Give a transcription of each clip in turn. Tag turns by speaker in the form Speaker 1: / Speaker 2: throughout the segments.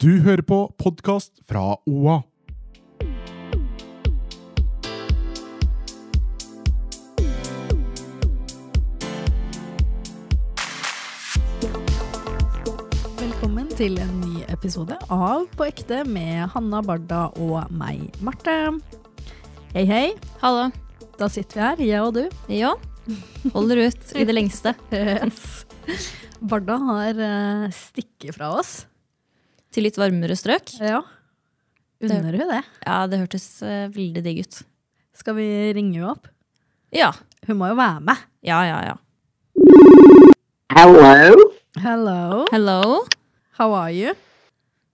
Speaker 1: Du hører på podkast fra OA.
Speaker 2: Velkommen til en ny episode av På ekte med Hanna Barda og meg, Marte. Hei, hei.
Speaker 3: Hallo.
Speaker 2: Da sitter vi her, jeg og du.
Speaker 3: Ja. Holder ut i det lengste.
Speaker 2: Barda har eh, stikket fra oss.
Speaker 3: Til litt varmere strøk.
Speaker 2: Ja. Unner hun det?
Speaker 3: Ja, det hørtes eh, veldig digg ut.
Speaker 2: Skal vi ringe henne opp?
Speaker 3: Ja.
Speaker 2: Hun må jo være med.
Speaker 3: Ja, ja, ja.
Speaker 4: Hello,
Speaker 2: Hello.
Speaker 3: Hello.
Speaker 2: How are you?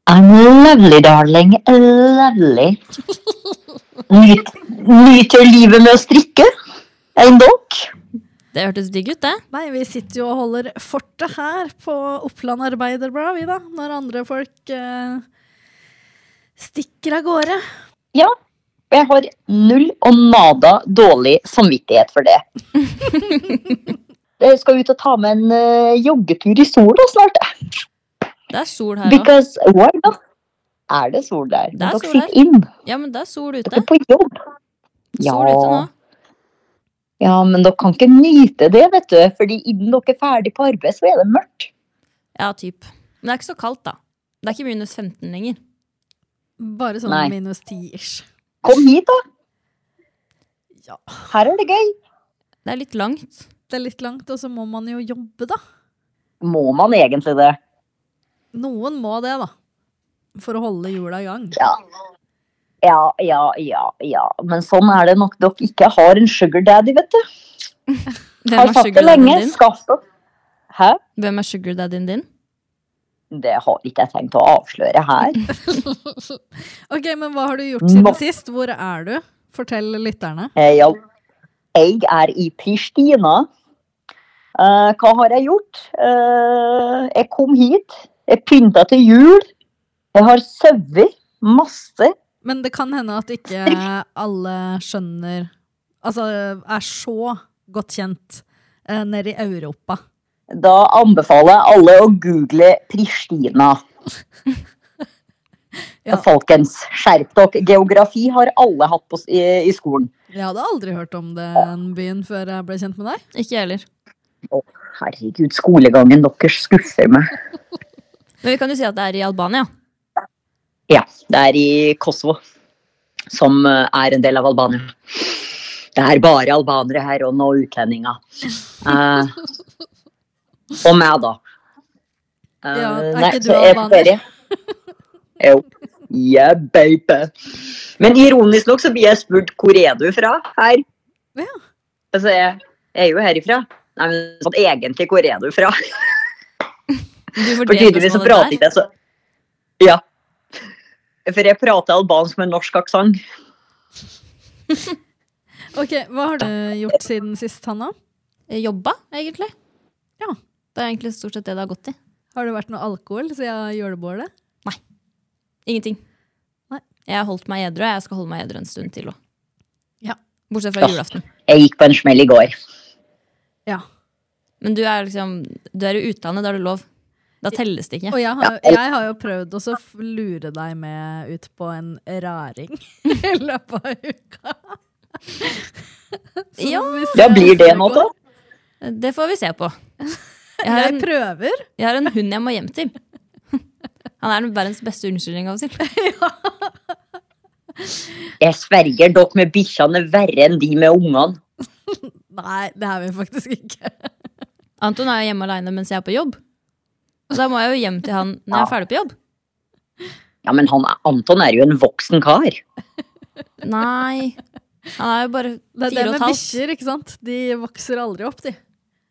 Speaker 4: I'm lovely, darling. Lovely. Nyt, nyter livet med å strikke. Endog.
Speaker 3: Det hørtes digg ut, det.
Speaker 2: Nei, vi sitter jo og holder fortet her på Oppland Arbeiderblad, vi da. Når andre folk eh, stikker av gårde.
Speaker 4: Ja, jeg har null og nada dårlig samvittighet for det. Jeg skal ut og ta med en eh, joggetur i sola snart.
Speaker 3: Det er sol her òg.
Speaker 4: Because why not? Er det sol der?
Speaker 3: Det er
Speaker 4: Men Dere
Speaker 3: sol
Speaker 4: sitter
Speaker 3: her.
Speaker 4: inn.
Speaker 3: Ja, men det er sol
Speaker 4: Dere
Speaker 3: ute.
Speaker 4: er på jobb.
Speaker 3: Sol ute nå.
Speaker 4: ja, men dere kan ikke nyte det, vet du. Fordi innen dere er ferdig på arbeid, så er det mørkt.
Speaker 3: Ja, typ. Men det er ikke så kaldt, da. Det er ikke minus 15 lenger.
Speaker 2: Bare sånn
Speaker 4: Nei.
Speaker 2: minus ti-ish.
Speaker 4: Kom hit, da.
Speaker 2: Ja.
Speaker 4: Her er det gøy.
Speaker 3: Det er litt langt.
Speaker 2: Det er litt langt, og så må man jo jobbe, da.
Speaker 4: Må man egentlig det?
Speaker 2: Noen må det, da. For å holde hjula i gang.
Speaker 4: Ja. Ja, ja, ja, ja. Men sånn er det nok dere ikke har en sugar daddy, vet du.
Speaker 3: Hvem
Speaker 4: Har
Speaker 3: er
Speaker 4: satt det
Speaker 3: sugar
Speaker 4: lenge.
Speaker 3: daddyen din?
Speaker 4: Skaff dere. Hæ?
Speaker 3: Hvem er sugar daddyen din?
Speaker 4: Det har ikke jeg tenkt å avsløre her.
Speaker 2: Ok, men hva har du gjort siden
Speaker 4: Nå.
Speaker 2: sist? Hvor er du? Fortell lytterne.
Speaker 4: Eh, Ja, jeg er i Pristina. Eh, hva har jeg gjort? Eh, jeg kom hit. Jeg pynta til jul. Jeg har sauer. Masse.
Speaker 2: Men det kan hende at ikke alle skjønner Altså er så godt kjent eh, nede i Europa.
Speaker 4: Da anbefaler jeg alle å google Pristina.
Speaker 2: Ja.
Speaker 4: Folkens, skjerp dere. Geografi har alle hatt på, s- i, i skolen.
Speaker 2: Jeg hadde aldri hørt om den byen før jeg ble kjent med deg.
Speaker 3: Ikke jeg heller.
Speaker 4: Herregud, skolegangen deres skuffer meg.
Speaker 3: Men vi kan jo si at det er i Albania.
Speaker 4: Ja, det er i Kosovo, som eh, er en del av Albania. Det er bare albanere her, og nå utlendinger. Eh, og meg, da. Eh,
Speaker 2: Ja, er
Speaker 4: nei,
Speaker 2: ikke du
Speaker 4: så jeg
Speaker 2: albaner?
Speaker 4: bare- Jo. Yeah, baby. Men ironisk nok så blir jeg spurt hvor er du fra her.
Speaker 2: Ja.
Speaker 4: Altså, jeg, jeg er jo herifra. Nei, men sånn egentlig, hvor er du fra?
Speaker 3: Du
Speaker 4: For
Speaker 3: vurderer
Speaker 4: tydeligvis så
Speaker 3: spørsmålet der.
Speaker 4: prater ikke jeg så Ja. For jeg prater albansk med norsk aksent.
Speaker 2: Ok, Hva har du gjort siden sist, Hanna?
Speaker 3: Eh, Jobba, egentlig.
Speaker 2: Ja.
Speaker 3: Det er egentlig stort sett det det har gått i.
Speaker 2: Har det vært noe alkohol siden julebålet?
Speaker 3: Ingenting.
Speaker 2: Nei.
Speaker 3: Jeg har holdt meg edru, og jeg skal holde meg edru en stund til òg.
Speaker 2: Ja.
Speaker 3: Bortsett fra
Speaker 4: Ja.
Speaker 3: julaften.
Speaker 4: Jeg gikk på en smell i går.
Speaker 2: Ja.
Speaker 3: Men du er liksom Du er i utlandet, da er det lov. Da telles det ikke.
Speaker 2: Og jeg har, jeg har jo prøvd også å f- lure deg med ut på en raring i løpet av uka. Så
Speaker 3: Ja.
Speaker 2: vi ser
Speaker 4: Ja, blir det
Speaker 2: hvordan
Speaker 4: noe,
Speaker 2: går.
Speaker 4: da?
Speaker 3: Det får vi se på. Jeg har,
Speaker 2: Jeg
Speaker 3: en,
Speaker 2: prøver.
Speaker 3: jeg har en hund jeg må hjem til. Han er den verdens beste unnskyldning av og til.
Speaker 4: Jeg sverger, dere med bikkjene er verre enn de med ungene.
Speaker 2: Nei, det er vi faktisk ikke.
Speaker 3: Anton er jo hjemme aleine mens jeg er på jobb. Så da må jeg jo hjem til han når jeg er ferdig på jobb.
Speaker 4: Ja, men han, Anton er jo en voksen kar.
Speaker 3: Nei. Han er jo bare
Speaker 2: Det er det
Speaker 3: fire og
Speaker 2: med
Speaker 3: et halvt.
Speaker 2: bikkjer, ikke sant? De vokser aldri opp, de.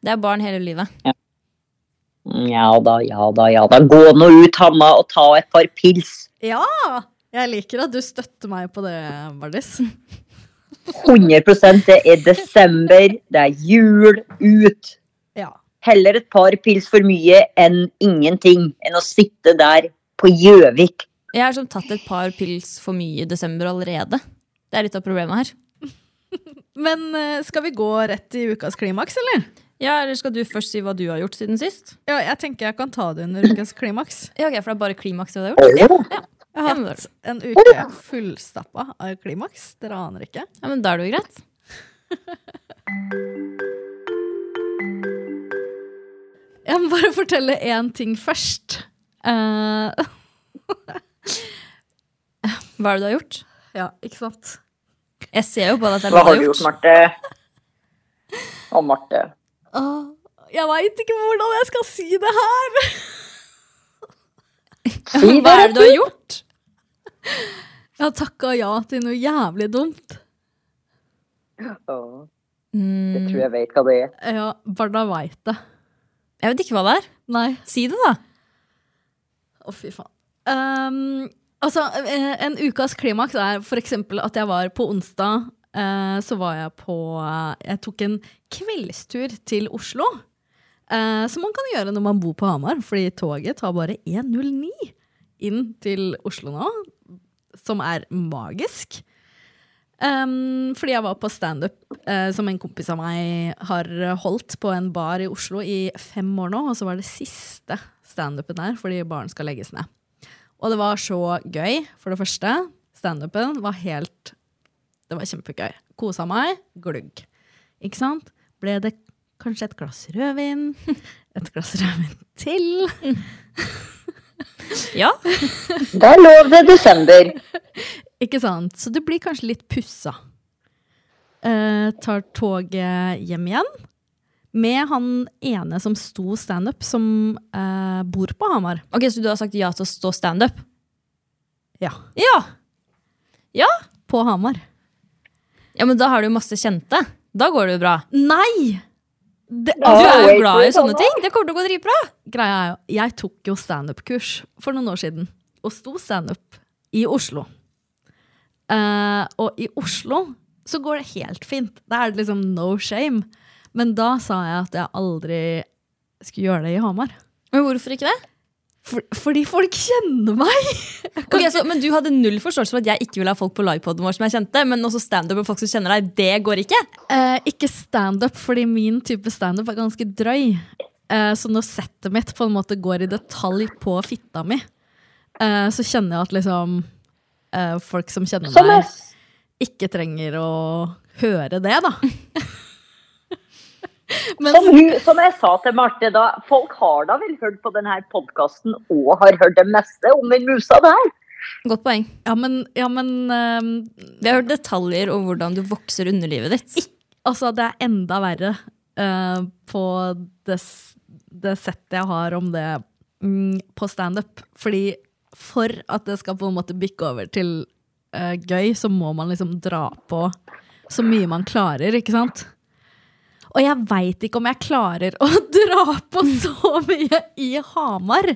Speaker 3: Det er barn hele livet.
Speaker 4: Ja da, ja da, ja da. Gå nå ut, Hanna, og ta et par pils.
Speaker 2: Ja! Jeg liker at du støtter meg på det, Bardis.
Speaker 4: 100 det er desember, det er jul, ut.
Speaker 2: Ja.
Speaker 4: Heller et par pils for mye enn ingenting, enn å sitte der på Gjøvik.
Speaker 3: Jeg har som tatt et par pils for mye i desember allerede. Det er litt av problemet her.
Speaker 2: Men eh, skal vi gå rett i ukas klimaks, eller?
Speaker 3: Ja, eller skal du først si hva du har gjort siden sist?
Speaker 2: Ja, jeg tenker jeg kan ta det under ukas klimaks.
Speaker 3: Ja, ok, for det er bare klimaks du har gjort.
Speaker 4: Åh,
Speaker 2: Jeg har
Speaker 3: Ja, men
Speaker 2: hatt en uke fullstappa av klimaks. Dere aner ikke.
Speaker 3: Ja, men da er det jo greit.
Speaker 2: Jeg må bare fortelle én ting først. Eh,
Speaker 3: Hva er det du har gjort?
Speaker 2: ja, ikke sant?
Speaker 3: Jeg ser jo på deg at det er
Speaker 4: Hva
Speaker 3: noe
Speaker 4: har du gjort, Marte? Å, Marte.
Speaker 2: Åh, jeg veit ikke hvordan jeg skal si det her!
Speaker 4: Si
Speaker 3: Hva er det du har gjort?
Speaker 2: Jeg har takka ja til noe jævlig dumt.
Speaker 4: Åh,
Speaker 3: Mm,
Speaker 4: Jeg tror jeg vet hva det er.
Speaker 2: Ja, Barda veit det.
Speaker 3: jeg vet ikke hva det er.
Speaker 2: Nei.
Speaker 3: Si det, da.
Speaker 2: Å, fy faen. Ehm, altså, eh, en ukas klimaks er f.eks. at jeg var på onsdag. eh, så var jeg på eh, Jeg tok en kveldstur til Oslo. eh, som man kan gjøre når man bor på Hamar, fordi toget tar bare 1.09 inn til Oslo nå. Som er magisk. Ehm, fordi jeg var på standup eh, som en kompis av meg har holdt på en bar i Oslo i fem år nå, og så var det siste standupen der fordi baren skal legges ned. Og det var så gøy, for det første. Standupen var helt Det var kjempegøy. Kosa meg. Glugg. Ikke sant? Ble det kanskje et glass rødvin? Et glass rødvin til?
Speaker 3: Ja.
Speaker 4: Det er lov, det er desember.
Speaker 2: Ikke sant? Så det blir kanskje litt pussa. Eh, tar toget hjem igjen. Med han ene som sto standup, som eh, bor på Hamar.
Speaker 3: Ok, Så du har sagt ja til å stå standup?
Speaker 2: Ja.
Speaker 3: Ja.
Speaker 2: På Hamar.
Speaker 3: ja, men da har du jo masse kjente. Da går det jo bra.
Speaker 2: Nei! Det,
Speaker 3: Du
Speaker 2: altså,
Speaker 3: er jo
Speaker 4: wait,
Speaker 3: glad i
Speaker 4: wait,
Speaker 3: sånne
Speaker 4: Anna.
Speaker 3: ting. Det kommer til å gå dritbra.
Speaker 2: greia er jo, jeg tok jo standup-kurs for noen år siden, og sto standup i Oslo. Eh, og i Oslo så går det helt fint. Da er det liksom no shame. Men da sa jeg at jeg aldri skulle gjøre det i Hamar.
Speaker 3: Men hvorfor ikke det?
Speaker 2: For, fordi folk kjenner meg!
Speaker 3: Ok, så, men Du hadde null forståelse for at jeg ikke ville ha folk på livepoden vår som jeg kjente, men også standup og folk som kjenner deg, det går ikke.
Speaker 2: Eh, ikke standup, fordi min type standup er ganske drøy. Eh, så når settet mitt på en måte går i detalj på fitta mi, eh, så kjenner jeg at liksom eh, Folk som kjenner
Speaker 4: Som
Speaker 2: meg
Speaker 4: oss.
Speaker 2: ikke trenger å høre det, da.
Speaker 4: Som, hun, som jeg sa til Marte, da, folk har da vel hørt på denne podkasten og har hørt det meste om den musa der?
Speaker 3: Godt poeng.
Speaker 2: Ja, men, ja, men ehm,
Speaker 3: Vi har hørt detaljer om hvordan du vokser underlivet ditt.
Speaker 2: altså, det er enda verre eh, på det, s- det settet jeg har om det mm, på standup. Fordi for at det skal på en måte bikke over til eh, gøy, så må man liksom dra på så mye man klarer, ikke sant? Og jeg veit ikke om jeg klarer å dra på så mye i Hamar.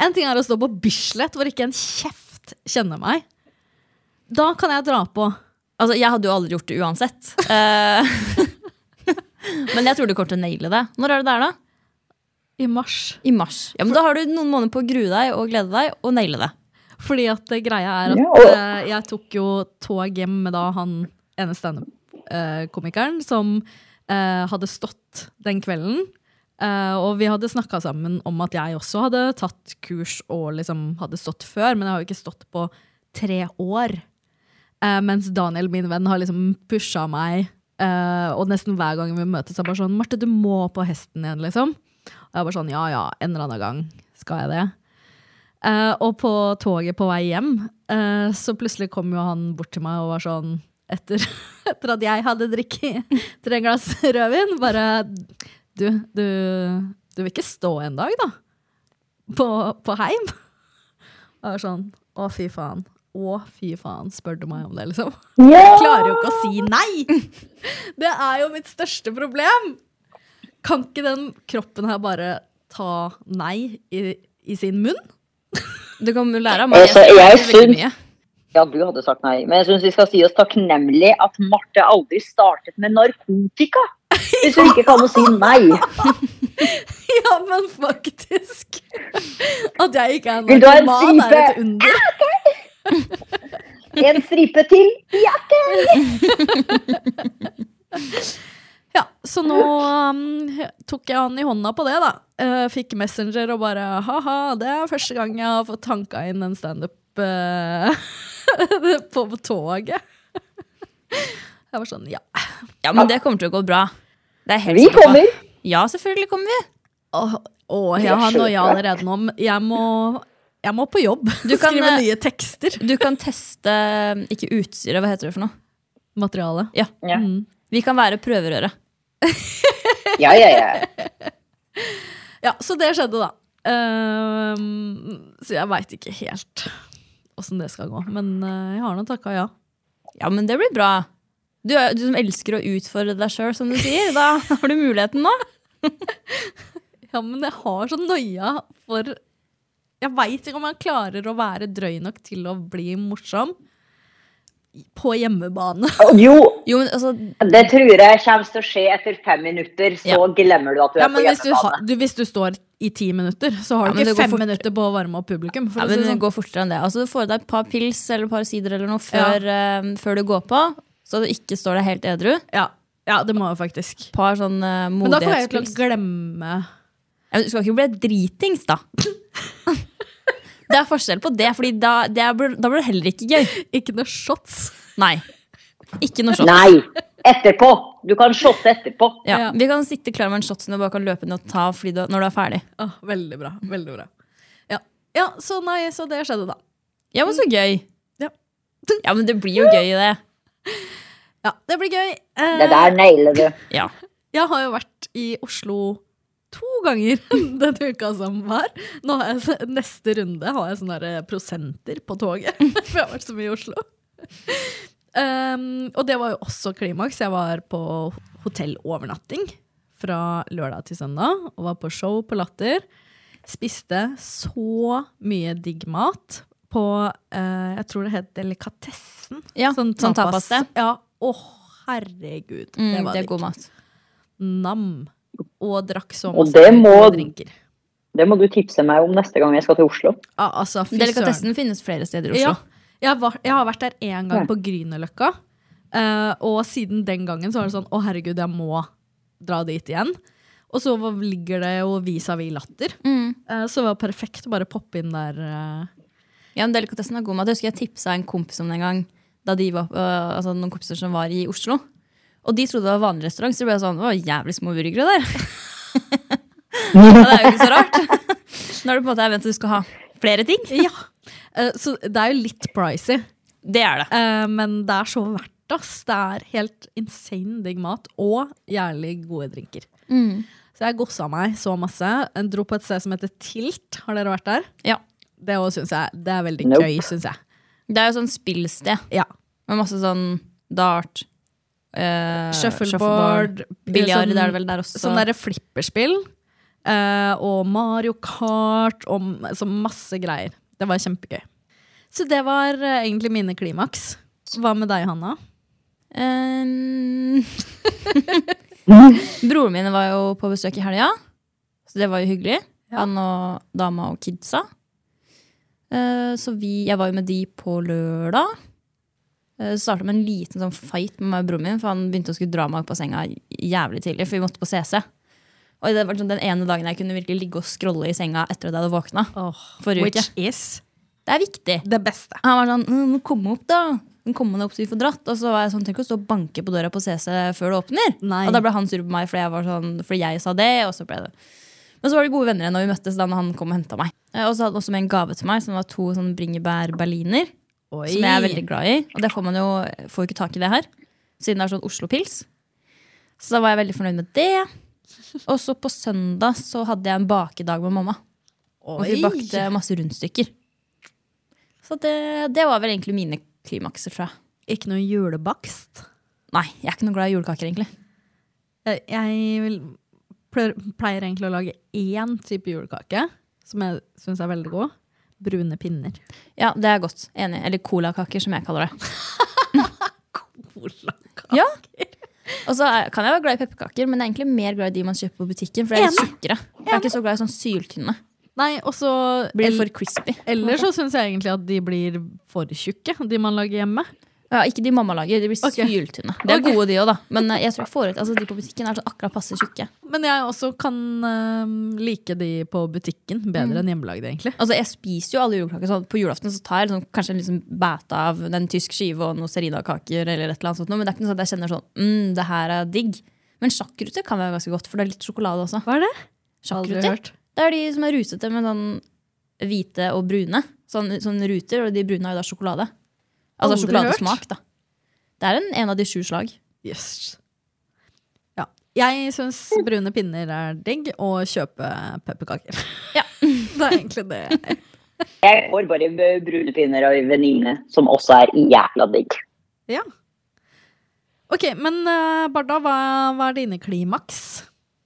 Speaker 2: En ting er å stå på Bislett hvor ikke en kjeft kjenner meg. Da kan jeg dra på.
Speaker 3: Altså, Jeg hadde jo aldri gjort det uansett. Eh, men jeg tror du kommer til å naile det. Når er det der, da?
Speaker 2: I mars.
Speaker 3: I mars. Ja, men Da har du noen måneder på å grue deg og glede deg og naile det.
Speaker 2: Fordi at eh, greia er at
Speaker 4: Ja, og-
Speaker 2: eh, jeg tok jo tog hjem med da han ene standup-komikeren som eh, hadde stått den kvelden. Eh, og vi hadde snakka sammen om at jeg også hadde tatt kurs og liksom hadde stått før, men jeg har jo ikke stått på tre år. Eh, mens Daniel, min venn, har liksom pusha meg. eh, og nesten hver gang vi møtes, er bare sånn 'Marte, du må på hesten igjen', liksom. Og jeg er bare sånn 'Ja ja, en eller annen gang skal jeg det'. Eh, og på toget på vei hjem, eh, så plutselig kom jo han bort til meg og var sånn Etter, etter at jeg hadde drikket tre glass rødvin, bare Du, du, du vil ikke stå en dag, da? På, på heim? Og jeg var sånn Å, fy faen. Å, fy faen, spør du meg om det, liksom? Jeg klarer jo ikke å si nei! Det er jo mitt største problem! Kan ikke den kroppen her bare ta nei i, i sin munn?
Speaker 3: Du kan jo lære av meg.
Speaker 4: Altså, jeg
Speaker 3: snakker veldig
Speaker 4: syns-
Speaker 3: mye.
Speaker 4: Ja, du hadde sagt nei. Men jeg syns vi skal si oss takknemlig at Marte aldri startet med narkotika. Hvis hun ikke kan å si nei.
Speaker 2: Ja, men faktisk. At jeg ikke er
Speaker 4: Vil du ha en
Speaker 2: narkoman, er et
Speaker 4: stripe?
Speaker 2: under.
Speaker 4: En stripe til. Ja, ikke?
Speaker 2: Ja, så nå um, tok jeg han i hånda på det, da. Eh, fikk Messenger og bare ha-ha, det er første gang jeg har fått tanka inn en standup eh, på toget. Jeg var sånn, ja.
Speaker 3: Ja, men det kommer til å gå bra. Det er jeg helt
Speaker 4: Vi
Speaker 3: sikker på.
Speaker 4: kommer.
Speaker 3: Ja, selvfølgelig kommer vi.
Speaker 2: Åh, åh, jeg har noia allerede nå. men Jeg må, jeg må på jobb.
Speaker 3: Du kan,
Speaker 2: Skrive
Speaker 3: eh,
Speaker 2: nye tekster.
Speaker 3: Du kan teste eh, Ikke utstyret, hva heter det for noe?
Speaker 2: Materiale.
Speaker 3: Ja.
Speaker 4: Ja.
Speaker 3: Mm. Vi kan være prøverøret.
Speaker 4: Ja, ja, ja.
Speaker 2: Ja, så det skjedde, da. Ehm, så jeg veit ikke helt åssen det skal gå. Men eh, jeg har nå takka ja.
Speaker 3: Ja, men det blir bra. Du, er- du som elsker å utfordre deg sjøl, som du sier. Da har du muligheten nå.
Speaker 2: Ja, men jeg har sånn noia for Jeg veit ikke om jeg klarer å være drøy nok til å bli morsom på hjemmebane.
Speaker 4: Jo,
Speaker 3: Jo, men altså
Speaker 4: det tror jeg kommer til å skje etter fem minutter. Så
Speaker 3: Ja.
Speaker 4: glemmer du at du
Speaker 2: Ja,
Speaker 4: er på
Speaker 2: men hvis du,
Speaker 4: hjemmebane.
Speaker 2: har- du, hvis du står i ti minutter, så har
Speaker 3: Ja,
Speaker 2: du
Speaker 3: men det
Speaker 2: ikke
Speaker 3: går
Speaker 2: fem
Speaker 3: fort.
Speaker 2: minutter på å varme opp publikum. For
Speaker 3: ja,
Speaker 2: å si
Speaker 3: men
Speaker 2: det
Speaker 3: det
Speaker 2: sånn.
Speaker 3: går fortere enn det. Altså, du får i deg et par pils eller et par sider eller noe før, eh, før du går på, så du ikke står deg helt edru.
Speaker 2: ja. ja, det må jeg faktisk.
Speaker 3: Et par sånn uh,
Speaker 2: Men da kommer jeg til å
Speaker 3: modighetspils.
Speaker 2: glemme
Speaker 3: Ja, men Du skal ikke bli dritings, da. Det er forskjell på det, Fordi da, det blir, da blir det heller ikke gøy.
Speaker 2: Ikke noe shots.
Speaker 3: Nei. Ikke noe shot.
Speaker 4: Nei. Etterpå. Du kan shotte etterpå.
Speaker 3: Ja.
Speaker 2: Ja.
Speaker 3: Vi kan sitte klar med en shot som du bare kan løpe ned og ta fordi du, når du er ferdig.
Speaker 2: Åh, veldig bra. Veldig bra. Ja. ja, så nei, så det skjedde, da.
Speaker 3: Ja, men så gøy.
Speaker 2: Mm. Ja.
Speaker 3: Ja, men det blir jo gøy i det.
Speaker 2: Ja, det blir gøy. Eh,
Speaker 4: Det der nailer du.
Speaker 3: Ja.
Speaker 2: Jeg har jo vært i Oslo to ganger denne uka som var. Nå har jeg, s- neste runde har jeg sånne der prosenter på toget, for jeg har vært så mye i Oslo. Um, og det var jo også klimaks. Jeg var på hotellovernatting fra lørdag til søndag og var på show på Latter. Spiste så mye digg mat på eh, Jeg tror det het Delikatessen.
Speaker 3: Ja, sånn tapas,
Speaker 2: Ja, å herregud.
Speaker 3: Mm,
Speaker 2: det var
Speaker 3: det er
Speaker 2: digg
Speaker 3: god mat.
Speaker 2: nam og drakk så
Speaker 4: Og det må-
Speaker 2: gode drinker.
Speaker 4: Det må du tipse meg om neste gang jeg skal til Oslo.
Speaker 2: Ja, altså, fy søren.
Speaker 3: Delikatessen finnes flere steder i Oslo.
Speaker 2: Ja, jeg, var, jeg har vært der én gang på Grünerløkka, eh, og siden den gangen så var det sånn å herregud, jeg må dra dit igjen. Og så var- ligger det jo vis-à-vis latter,
Speaker 3: Mm.
Speaker 2: eh, så det var perfekt å bare poppe inn der. eh.
Speaker 3: Ja, men delikatessen er god mat. Jeg husker jeg tipsa en kompis om det en gang. Da de var, øh, altså Noen kompiser som var i Oslo. Og de trodde det var vanlig restaurant, så det ble sånn Å, jævlig små burgere der. ja, det er jo ikke så rart. Når det på en måte er vent til du skal ha flere ting.
Speaker 2: Eh, så det er jo litt pricy,
Speaker 3: Det er det.
Speaker 2: eh, men det er så verdt ass. Det er helt insane digg mat og jævlig gode drinker.
Speaker 3: Mm.
Speaker 2: Så jeg gossa meg så masse. Jeg dro på et sted som heter Tilt. Har dere vært der?
Speaker 3: Ja.
Speaker 2: Det, også synes jeg, det er veldig
Speaker 4: Nope.
Speaker 2: gøy, syns jeg.
Speaker 3: Det er jo sånn spillsted
Speaker 2: Ja.
Speaker 3: med masse sånn dart eh,
Speaker 2: Shuffleboard,
Speaker 3: Biljard
Speaker 2: sånn-
Speaker 3: det er det vel der også.
Speaker 2: Sånn derre flipperspill. eh, og Mario Kart og m- så masse greier. Det var kjempegøy. Så det var eh, egentlig mine klimaks. Hva med deg, Hanna?
Speaker 3: Ehm. Broren min var jo på besøk i helga, så det var jo hyggelig. Han og dama og kidsa. Eh, Så vi, jeg var jo med de på lørdag. Eh, Så starta med en liten sånn fight med meg og broren min, for han begynte å skulle dra meg opp av senga jævlig tidlig, for vi måtte på CC. Og det var sånn den ene dagen jeg kunne virkelig ligge og scrolle i senga etter at jeg hadde våkna. Forrige
Speaker 2: Which
Speaker 3: uke.
Speaker 2: is
Speaker 3: Det er viktig.
Speaker 2: det beste.
Speaker 3: Han var sånn «Mm, 'Kom opp, da!' Den kom han opp så vi får dratt. Og så var jeg sånn, tenk å stå og banke på døra på CC før det åpner.
Speaker 2: Nei.
Speaker 3: Og da ble han sur på meg fordi jeg, var sånn, fordi jeg sa det. og så ble det. Men så var det gode venner igjen når vi møttes da når han kom og henta meg. Eh, Og så hadde han også med en gave til meg som var to sånn bringebær berliner.
Speaker 2: Oi.
Speaker 3: Som jeg er veldig glad i. Og det får man jo får jo ikke tak i det her, siden det er sånn Oslo-pils. Så da var jeg veldig fornøyd med det. Og så på søndag så hadde jeg en bakedag med mamma. Og vi
Speaker 2: Oi.
Speaker 3: bakte masse rundstykker. Så det, det var vel egentlig mine klimakser, tror jeg.
Speaker 2: Ikke noe julebakst.
Speaker 3: Nei, jeg er ikke noe glad i julekaker, egentlig.
Speaker 2: Eh, Jeg vil, pleier, pleier egentlig å lage én type julekake, som jeg syns er veldig god. Brune pinner.
Speaker 3: Ja, det er godt. Enig. Eller colakaker, som jeg kaller det.
Speaker 2: Colakaker.
Speaker 3: Ja. Og så er- kan jeg være glad i pepperkaker, men jeg er egentlig mer glad i de man kjøper på butikken. For de er litt tjukkere. Jeg er ikke så glad i sånn syltynne.
Speaker 2: Nei, og så
Speaker 3: Blir
Speaker 2: el-
Speaker 3: for crispy.
Speaker 2: Eller så syns jeg egentlig at de blir for tjukke, de man lager hjemme.
Speaker 3: Ja, ikke de mamma lager. De blir
Speaker 2: Ok.
Speaker 3: syltynne. De er
Speaker 2: Ok.
Speaker 3: gode, de òg, da. Men eh, jeg tror jeg får ut, altså, de på butikken er så akkurat passe tjukke.
Speaker 2: Men jeg også kan eh, like de på butikken bedre enn hjemmelagde, egentlig.
Speaker 3: Altså, jeg spiser jo alle julekaker. Så på julaften så tar jeg liksom, kanskje en liksom bæte av en tysk skive og noen Serida-kaker. eller et eller annet sånt noe, Men det er ikke noe sånn at jeg kjenner sånn mm, det her er digg. Men sjakkruter kan være ganske godt, for det er litt sjokolade også.
Speaker 2: Hva er det?
Speaker 3: Sjakkruter? Det er de som er rusete med sånn hvite og brune. Sånn, sånn ruter, og de brune har jo da sjokolade. Altså
Speaker 2: Aldri
Speaker 3: sjokoladesmak, da. Det er en, en av de sju slag.
Speaker 2: Jøss. Ja. Jeg syns brune pinner er digg, og kjøpe pepperkaker.
Speaker 3: Ja.
Speaker 2: det er egentlig det.
Speaker 4: Jeg får bare b- brune pinner av en venninne, som også er jævla digg.
Speaker 2: Ja. Ok, men eh, Barda, hva, hva er dine klimaks?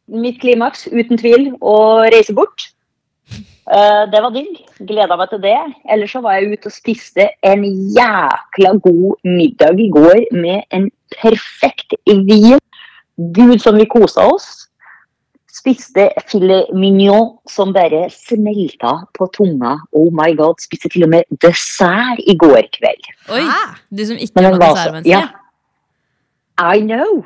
Speaker 4: Mitt klimaks, uten tvil, å reise bort. Eh, det var digg. Gleda meg til det. Ellers så var jeg ute og spiste en jækla god middag i går med en perfekt vin. Gud, som vi kosa oss. Spiste filet mignon som bare smelta på tunga. Oh my god. Spiste til og med dessert i går kveld.
Speaker 3: Oi! Du som ikke var
Speaker 4: Men den var så
Speaker 3: dessertmenneske.
Speaker 4: ja. I know!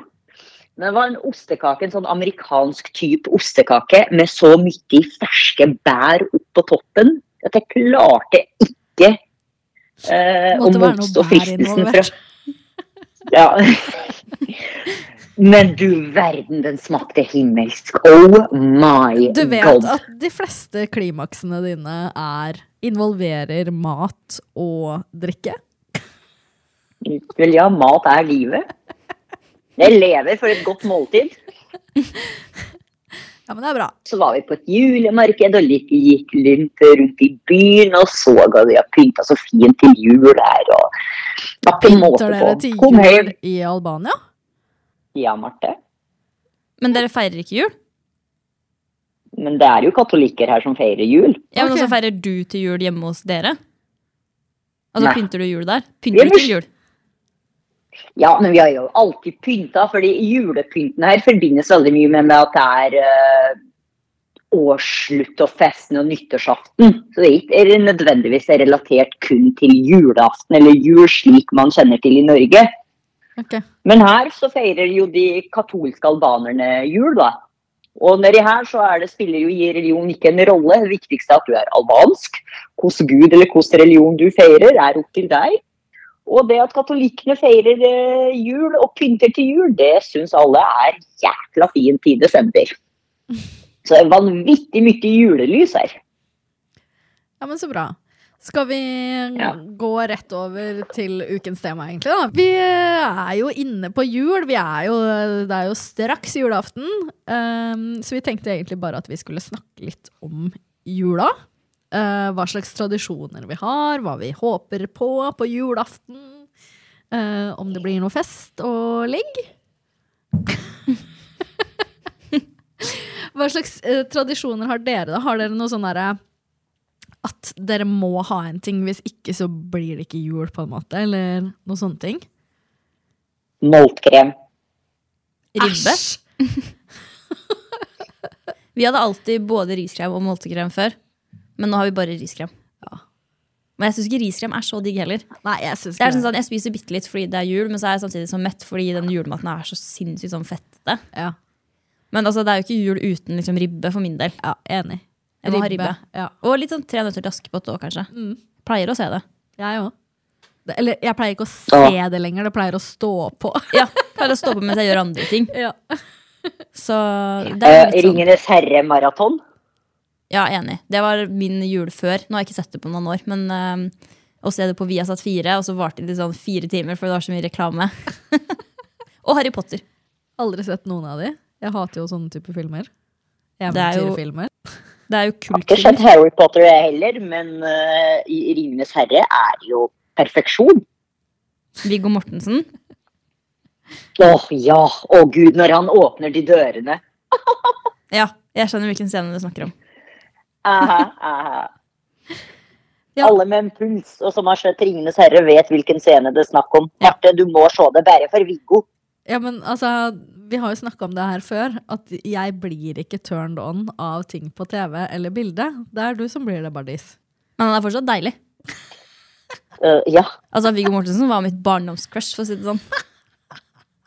Speaker 4: Men det var en ostekake, en sånn amerikansk type ostekake med så mye ferske bær opp på toppen at jeg klarte ikke eh, å
Speaker 2: Måtte være noe
Speaker 4: motstå
Speaker 2: bær
Speaker 4: fristelsen fra
Speaker 2: involvert.
Speaker 4: ja. Men du verden, den smakte himmelsk. Oh my
Speaker 2: Du vet
Speaker 4: god.
Speaker 2: at de fleste klimaksene dine er involverer mat og drikke.
Speaker 4: Vel, ja, mat er livet. Jeg lever for et godt måltid.
Speaker 2: Ja, men det er bra.
Speaker 4: Så var vi på et julemarked og litt, gikk rundt, rundt i byen og så at de har pynta så fint til jul her. Og det var ikke måte
Speaker 2: Pynter dere til
Speaker 4: på. Kom
Speaker 2: jul
Speaker 4: hjem.
Speaker 2: i Albania?
Speaker 4: Ja, Marte.
Speaker 3: Men dere feirer ikke jul?
Speaker 4: Men det er jo katolikker her som feirer jul.
Speaker 3: Ja, men
Speaker 2: Ok.
Speaker 3: også feirer du til jul hjemme hos dere? Altså,
Speaker 4: Nei.
Speaker 3: pynter du jul der? Pynter du
Speaker 4: Ellers-
Speaker 3: til jul?
Speaker 4: Ja, men vi har jo alltid pynta, fordi julepynten her forbindes veldig mye med, med at det er eh, årsslutt og festen og nyttårsaften. Så det er ikke er nødvendigvis relatert kun til julaften eller jul slik man kjenner til i Norge.
Speaker 2: Ok.
Speaker 4: Men her så feirer jo de katolske albanerne jul, da. Og nedi her så er det, spiller jo i religion ikke en rolle. Det viktigste er at du er albansk. Hvilken gud eller hvilken religion du feirer, er opp til deg. Og det at katolikkene feirer eh, jul og pynter til jul, det syns alle er jækla fint i desember. Så det er vanvittig mye julelys her.
Speaker 2: Ja, men så bra. Skal vi
Speaker 4: Ja.
Speaker 2: gå rett over til ukens tema, egentlig? da? Vi eh, er jo inne på jul. Vi er jo, det er jo straks julaften. Ehm, så vi tenkte egentlig bare at vi skulle snakke litt om jula. Eh, hva slags tradisjoner vi har, hva vi håper på på julaften. eh, om det blir noe fest og ligg. hva slags eh, tradisjoner har dere, da? Har dere noe sånn derre at dere må ha en ting, hvis ikke så blir det ikke jul, på en måte, eller noen sånne ting.
Speaker 4: Moltkrem.
Speaker 3: Ribbe?
Speaker 2: Æsj!
Speaker 3: Vi hadde alltid både riskrem og multekrem før. Men nå har vi bare riskrem. Men jeg syns ikke riskrem er så digg heller.
Speaker 2: Nei, jeg syns
Speaker 3: Det
Speaker 2: ikke
Speaker 3: er sånn, sånn, Jeg spiser bitte litt fordi det er jul, men så er jeg samtidig så mett fordi den julematen er så sinnssykt sånn fettete.
Speaker 2: Ja,
Speaker 3: Men altså, det er jo ikke jul uten liksom, ribbe, for min del.
Speaker 2: ja, enig.
Speaker 3: Jeg må ha ribbe.
Speaker 2: Ja,
Speaker 3: Og litt sånn Tre nøtter til Askepott òg, kanskje. Pleier å se det.
Speaker 2: jeg òg. Det- Eller jeg pleier ikke å se det lenger, det pleier å stå på.
Speaker 3: Ja, Pleier å stå på mens jeg gjør andre ting.
Speaker 2: Ja.
Speaker 3: Så det er
Speaker 4: Eh,
Speaker 3: litt sånn.
Speaker 4: Ringenes herre-maraton.
Speaker 3: Ja, enig. Det var min jul før. Nå har jeg ikke sett det på noen år. Men eh, å se det på Viasat 4, og så varte det sånn fire timer, for det var så mye reklame. og Harry Potter.
Speaker 2: Aldri sett noen av de. Jeg hater jo sånne type filmer.
Speaker 3: Det er jo-
Speaker 2: Eventyrfilmer.
Speaker 3: Det er jo
Speaker 4: Har ikke sett
Speaker 3: kultfilmer.
Speaker 4: Harry Potter jeg heller, men eh, i Ringenes herre er jo perfeksjon.
Speaker 3: Viggo Mortensen.
Speaker 4: Åh, ja! Å gud, når han åpner de dørene.
Speaker 3: Ja, jeg skjønner hvilken scene du snakker om.
Speaker 4: Aha, aha.
Speaker 2: Ja.
Speaker 4: Alle med en puls og som har sett 'Ringenes herre', vet hvilken scene det er snakk om. Marte, du må se det, bare for Viggo.
Speaker 2: Ja, men altså, vi har jo snakka om det her før, at jeg blir ikke turned on av ting på TV eller bilde. Det er du som blir det, Bardis.
Speaker 3: Men han er fortsatt deilig.
Speaker 4: Eh, ja,
Speaker 3: Altså, Viggo Mortensen var mitt barndomscrush, for å si det sånn.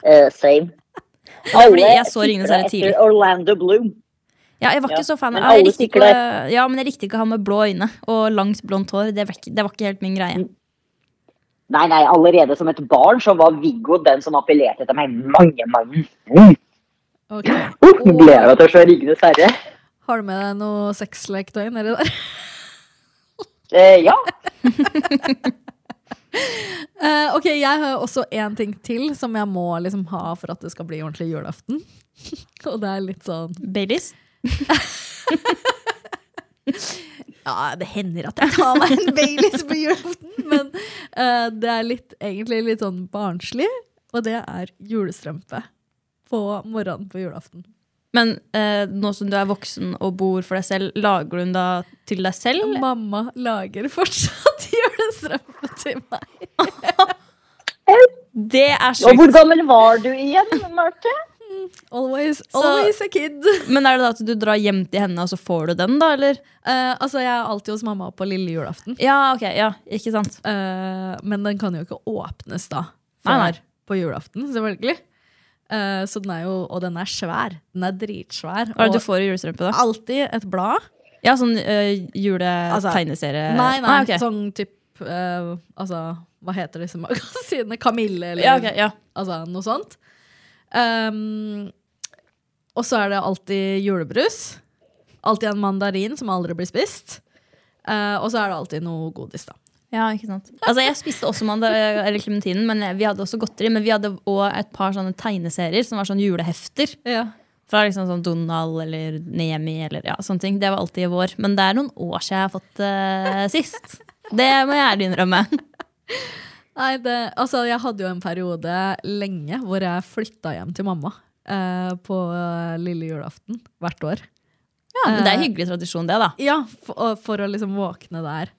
Speaker 4: eh, same.
Speaker 3: fordi jeg så Ringenes herre
Speaker 4: etter
Speaker 3: tidlig.
Speaker 4: Orlando Bloom.
Speaker 3: Ja, jeg var ikke
Speaker 4: Ja,
Speaker 3: så fan
Speaker 4: men
Speaker 3: av jeg
Speaker 4: alle
Speaker 3: likte ikke, Ja, men jeg likte ikke han med blå øyne og langt, blondt hår. Det var ikke, det var ikke helt min
Speaker 4: Mm.
Speaker 3: greie.
Speaker 4: Nei, nei, allerede som et barn så var Viggo den som appellerte til meg mange, mange ganger.
Speaker 2: Ok.
Speaker 4: Uh, Nå ble jeg jo til å se Ringenes herre.
Speaker 2: Har du med deg noe sexleketøy nedi der?
Speaker 4: Eh, ja.
Speaker 2: Eh, ok, jeg har også én ting til som jeg må liksom ha for at det skal bli ordentlig julaften. Og det er litt sånn
Speaker 3: Baileys?
Speaker 2: Ja, det hender at jeg tar meg en Baileys på julaften, men eh, det er litt, egentlig litt sånn barnslig, og det er julestrømpe på morgenen på julaften.
Speaker 3: Men eh, nå som du er voksen og bor for deg selv, lager du den da til deg selv?
Speaker 2: Mamma lager fortsatt julestrømpe til meg.
Speaker 3: Det er
Speaker 4: Og hvor
Speaker 3: sjukt.
Speaker 4: gammel var du igjen, Marte?
Speaker 2: Always,
Speaker 3: Så-
Speaker 2: always a kid.
Speaker 3: Men er det da at du drar hjem til henne, og så får du den, da? eller?
Speaker 2: Eh, altså, jeg er alltid hos mamma på lille julaften,
Speaker 3: Ja, ok, ja, ikke sant?
Speaker 2: eh, men den kan jo ikke åpnes da, før
Speaker 3: Nei, nei.
Speaker 2: på julaften, selvfølgelig. Eh, så den er jo, og den er svær. Den er
Speaker 3: Hva er
Speaker 2: dritsvær.
Speaker 3: det
Speaker 2: og-
Speaker 3: du får i julestrømpe, da?
Speaker 2: Alltid et blad.
Speaker 3: Ja, sånn eh, juletegneserie...
Speaker 2: Nei, nei,
Speaker 3: Ah, ok.
Speaker 2: sånn typ eh, Altså, hva heter disse magasinene? Kamille, eller
Speaker 3: Ja, ok, ja.
Speaker 2: altså, noe sånt. Ehm, og så er det alltid julebrus. Alltid en mandarin som aldri blir spist. Eh, og så er det alltid noe godis, da.
Speaker 3: Ja, ikke sant. Altså, jeg spiste også mandar eller klementinen, men vi hadde også godteri. Men vi hadde også et par sånne tegneserier som var sånn julehefter. Fra liksom sånn Donald eller Nemi eller ja, sånne ting. Det var alltid i vår. Men det er noen år siden jeg har fått eh, sist. Det må jeg ærlig innrømme.
Speaker 2: Nei, det, altså, jeg hadde jo en periode lenge hvor jeg flytta hjem til mamma eh, på lille julaften hvert år.
Speaker 3: Ja, men det er en hyggelig tradisjon, det, da.
Speaker 2: Ja, for, for å liksom våkne der.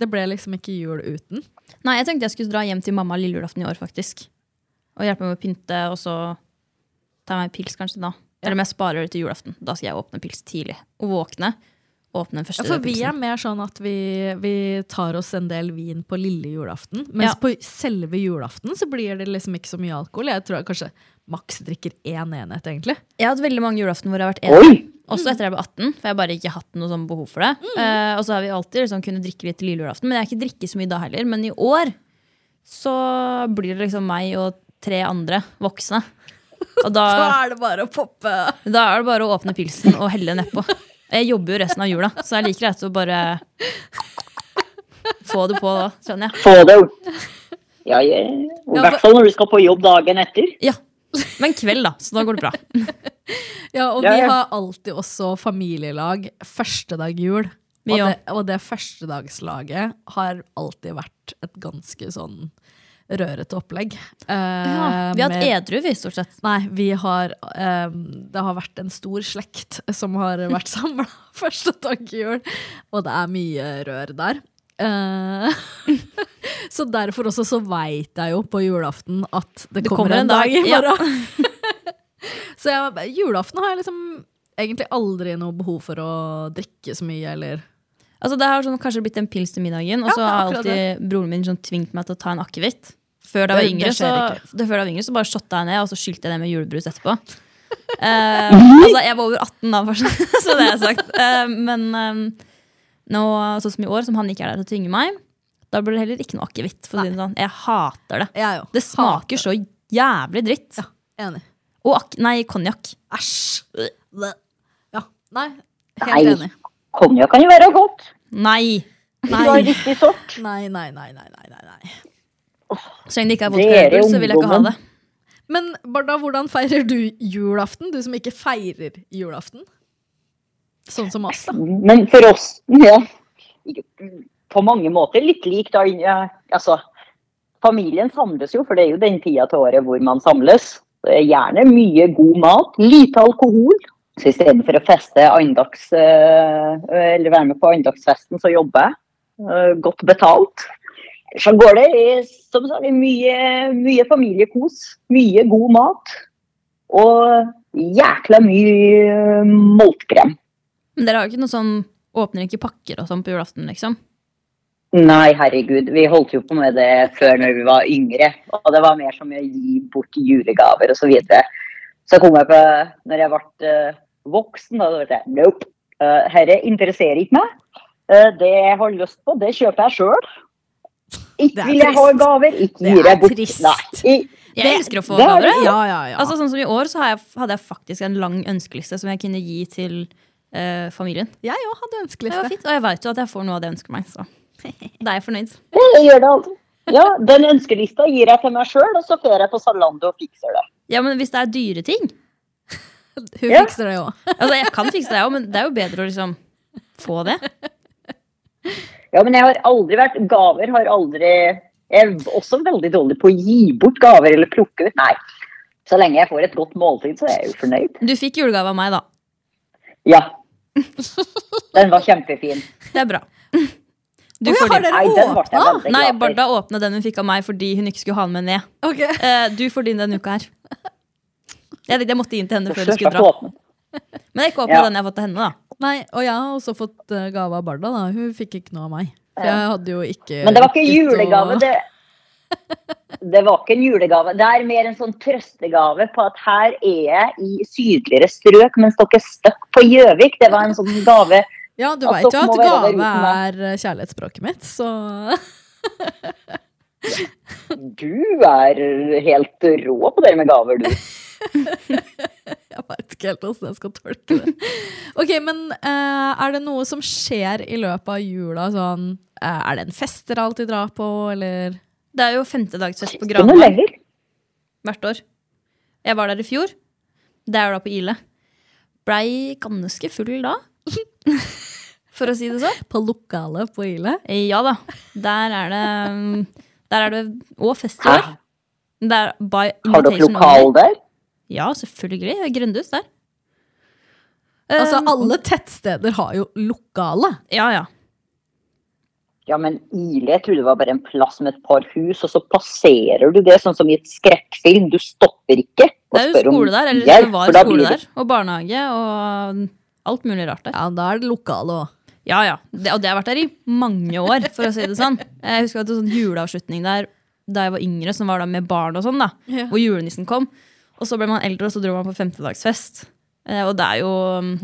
Speaker 2: Det ble liksom ikke jul uten.
Speaker 3: Nei, jeg tenkte jeg skulle dra hjem til mamma lille julaften i år, faktisk. Og hjelpe meg med å pynte, og så ta meg en pils kanskje da. Eller om jeg sparer det til julaften. Da skal jeg åpne pils tidlig. Og våkne. Åpne den første
Speaker 2: Ja, for vi er
Speaker 3: pilsen.
Speaker 2: mer sånn at vi, vi tar oss en del vin på lille julaften. Mens
Speaker 3: Ja.
Speaker 2: på selve julaften så blir det liksom ikke så mye alkohol. Jeg tror jeg kanskje maks drikker én enhet, egentlig.
Speaker 3: Jeg har hatt veldig mange julaften hvor jeg har vært enig.
Speaker 4: Oi!
Speaker 3: Også etter jeg ble 18, for jeg har bare ikke hatt noe sånn behov for det. Eh, og så har vi alltid liksom kunnet drikke litt til lille julaften, men jeg har ikke drikket så mye da heller. Men i år så blir det liksom meg og tre andre voksne. Og da,
Speaker 2: Da er det bare å poppe!
Speaker 3: da er det bare å åpne pilsen og helle nedpå. Jeg jobber jo resten av jula, så jeg liker greit å bare få det på da, skjønner jeg.
Speaker 4: Få det opp. Ja, ja. I hvert fall når du skal på jobb dagen etter.
Speaker 3: Ja. Men kveld, da, så da går det bra.
Speaker 2: Ja, og
Speaker 4: Ja,
Speaker 2: vi
Speaker 4: ja.
Speaker 2: har alltid også familielag første dag jul.
Speaker 3: Vi
Speaker 2: Og det,
Speaker 3: òg.
Speaker 2: og det førstedagslaget har alltid vært et ganske sånn rørete opplegg. Eh,
Speaker 3: vi har hatt
Speaker 2: med-
Speaker 3: edru, vi, stort sett.
Speaker 2: Nei, vi har eh, Det har vært en stor slekt som har vært samla første tankehjul, og det er mye rør der. Eh, så derfor også så veit jeg jo på julaften at det, kommer, en dag. i
Speaker 3: ja.
Speaker 2: morgen. så jeg, julaften har jeg liksom egentlig aldri noe behov for å drikke så mye, eller
Speaker 3: Altså Det har sånn, kanskje blitt en pils til middagen, og
Speaker 2: Ja,
Speaker 3: så har
Speaker 2: akkurat
Speaker 3: alltid broren min sånn tvingt meg til å ta en akevitt. Før da jeg var
Speaker 2: Det-
Speaker 3: yngre,
Speaker 2: det
Speaker 3: så,
Speaker 2: skjer
Speaker 3: det, før da jeg var yngre, så bare shotta jeg ned, og så skylte jeg ned med julebrus etterpå. Eh, altså Jeg var over 18 da, for, sånn- så det har jeg sagt. Eh, men eh, nå, sånn som i år, som han ikke er der til å tvinge meg, da blir det heller ikke noe akevitt. for å si det Sånn. Jeg hater det.
Speaker 2: Jeg jo.
Speaker 3: Det smaker så jævlig dritt.
Speaker 2: Enig.
Speaker 3: Og ak nei, konjakk.
Speaker 2: Æsj. Ja. Nei, helt
Speaker 4: Nei.
Speaker 2: enig.
Speaker 4: Konjakk kan jo være godt.
Speaker 3: Nei!
Speaker 4: Hvis du har riktig sort.
Speaker 2: Nei, nei, nei, nei, nei, nei. nei.
Speaker 3: Så lenge det ikke er
Speaker 4: Dere
Speaker 3: vodka, og øl, så vil jeg ikke ha
Speaker 4: ungdommen.
Speaker 3: det.
Speaker 2: Men Barda, hvordan feirer du julaften? Du som ikke feirer julaften. Sånn som oss, da.
Speaker 4: Men for oss, ja. På mange måter litt lik da. ja, Altså, familien samles jo, for det er jo den tida til året hvor man samles. Det er Gjerne mye god mat, lite alkohol. Så istedenfor å feste andags, eh, eller være med på andagsfesten, så jobber jeg. eh, godt betalt. Så går det i, som sagt, i mye, mye familiekos, mye god mat og jækla mye eh, moltkrem.
Speaker 3: Men dere har jo ikke noe sånn Åpner ikke pakker og sånn på julaften, liksom?
Speaker 4: Nei, herregud. Vi holdt jo på med det før når vi var yngre. Og det var mer som å gi bort julegaver og Så, videre. så kom jeg på, når jeg ble eh, voksen, da tenkte jeg nope. eh, herre interesserer ikke meg. Eh, det jeg har lyst på, det kjøper jeg sjøl.
Speaker 2: Det
Speaker 4: Ikke
Speaker 2: er
Speaker 4: vil jeg ha
Speaker 2: trist.
Speaker 4: gaver, ikke
Speaker 2: Det
Speaker 4: gir
Speaker 2: er
Speaker 4: jeg bort.
Speaker 2: trist.
Speaker 4: Nei, i-
Speaker 3: Jeg elsker å få
Speaker 4: det er
Speaker 3: gaver.
Speaker 4: det.
Speaker 3: jeg.
Speaker 2: Ja, ja, ja.
Speaker 3: Altså, sånn som I år så har jeg, hadde jeg faktisk en lang ønskeliste som jeg kunne gi til eh, familien.
Speaker 2: jeg òg hadde
Speaker 3: Det var
Speaker 2: ønskeliste.
Speaker 3: fint, Og jeg veit jo at jeg får noe av det jeg ønsker meg. Så da er jeg fornøyd.
Speaker 4: det, jeg gjør det alltid. Ja, den ønskelista gir jeg til meg sjøl, og så får jeg på Zalando og fikser det.
Speaker 3: Ja, men hvis det er dyre ting
Speaker 2: Hun
Speaker 4: Ja.
Speaker 2: fikser det jo.
Speaker 3: Altså, Jeg kan fikse det, jeg òg, men det er jo bedre å liksom få det.
Speaker 4: Ja, men jeg har aldri vært Gaver har aldri Jeg er også veldig dårlig på å gi bort gaver eller plukke ut. Nei. Så lenge jeg får et godt måltid, så er jeg jo fornøyd.
Speaker 3: Du fikk julegave av meg, da.
Speaker 4: Ja. Den var kjempefin.
Speaker 3: Det er bra. Du
Speaker 2: Å, ja,
Speaker 3: får
Speaker 2: har
Speaker 3: din.
Speaker 2: dere
Speaker 4: Nei, den ble jeg
Speaker 2: åpna?
Speaker 4: veldig
Speaker 3: Nei,
Speaker 4: glad for.
Speaker 3: Barda åpna den hun fikk av meg fordi hun ikke skulle ha den med ned.
Speaker 2: Ok.
Speaker 3: Eh, du får din denne uka her. Jeg, jeg måtte gi den til henne før du
Speaker 4: Først
Speaker 3: skulle
Speaker 4: ble
Speaker 3: dra.
Speaker 4: åpnet.
Speaker 3: Men jeg ikke åpna
Speaker 4: Ja.
Speaker 3: den jeg har fått av henne, da.
Speaker 2: Nei, og jeg har også fått eh, gave av Barda. da. Hun fikk ikke noe av meg. For jeg hadde jo ikke
Speaker 4: Men det var ikke
Speaker 2: rukket å-
Speaker 4: julegave. Det, det var ikke en julegave. Det er mer en sånn trøstegave på at her er jeg i sydligere strøk, mens dere er stuck på Gjøvik. Det var en sånn gave.
Speaker 2: Ja, du
Speaker 4: At
Speaker 2: veit jo
Speaker 4: dere må
Speaker 2: at
Speaker 4: være der
Speaker 2: gave
Speaker 4: uten meg.
Speaker 2: er eh, kjærlighetsspråket mitt, så
Speaker 4: Du er helt rå på det med gaver, du.
Speaker 2: jeg veit ikke helt åssen jeg skal tolke det. Ok, men eh, er det noe som skjer i løpet av jula sånn eh, Er det en fest dere alltid drar på, eller
Speaker 3: Det er jo femtedagsfest på
Speaker 4: Ikke noe
Speaker 3: Granvoll
Speaker 4: lenger.
Speaker 3: hvert år. Jeg var der i fjor. Det er jo da på Ile. Blei ganske full da. For å si det sånn.
Speaker 2: på lokalet på Ile?
Speaker 3: Ja da. Der er det um, Der er det òg fest i år. Det er by
Speaker 4: Har dere
Speaker 3: invitation
Speaker 4: lokal
Speaker 3: only.
Speaker 4: der?
Speaker 3: Ja, selvfølgelig. Grønnhus der.
Speaker 2: Altså,
Speaker 4: Eh, mm.
Speaker 3: Um,
Speaker 2: alle tettsteder har jo lokale.
Speaker 3: Ja, ja.
Speaker 4: Ja, men Ile, jeg trodde det var bare en plass med et par hus, og så passerer du det, sånn som i et skrekkfilm. Du stopper ikke og
Speaker 3: Det er jo
Speaker 4: spør om
Speaker 3: skole der. Eller
Speaker 4: hjelp,
Speaker 3: det
Speaker 4: for
Speaker 3: var
Speaker 4: da
Speaker 3: skole
Speaker 4: blir det-
Speaker 3: der. Og barnehage og alt mulig rart der.
Speaker 2: Ja, da er det lokale òg.
Speaker 3: Ja, ja. Det, og det har vært der i mange år, for å si det sånn. Jeg husker at det var sånn juleavslutning der da jeg var yngre, som var da med barn og sånn, da.
Speaker 2: Ja.
Speaker 3: Hvor julenissen kom. Og så ble man eldre, og så dro man på femtedagsfest. Eh, og det er jo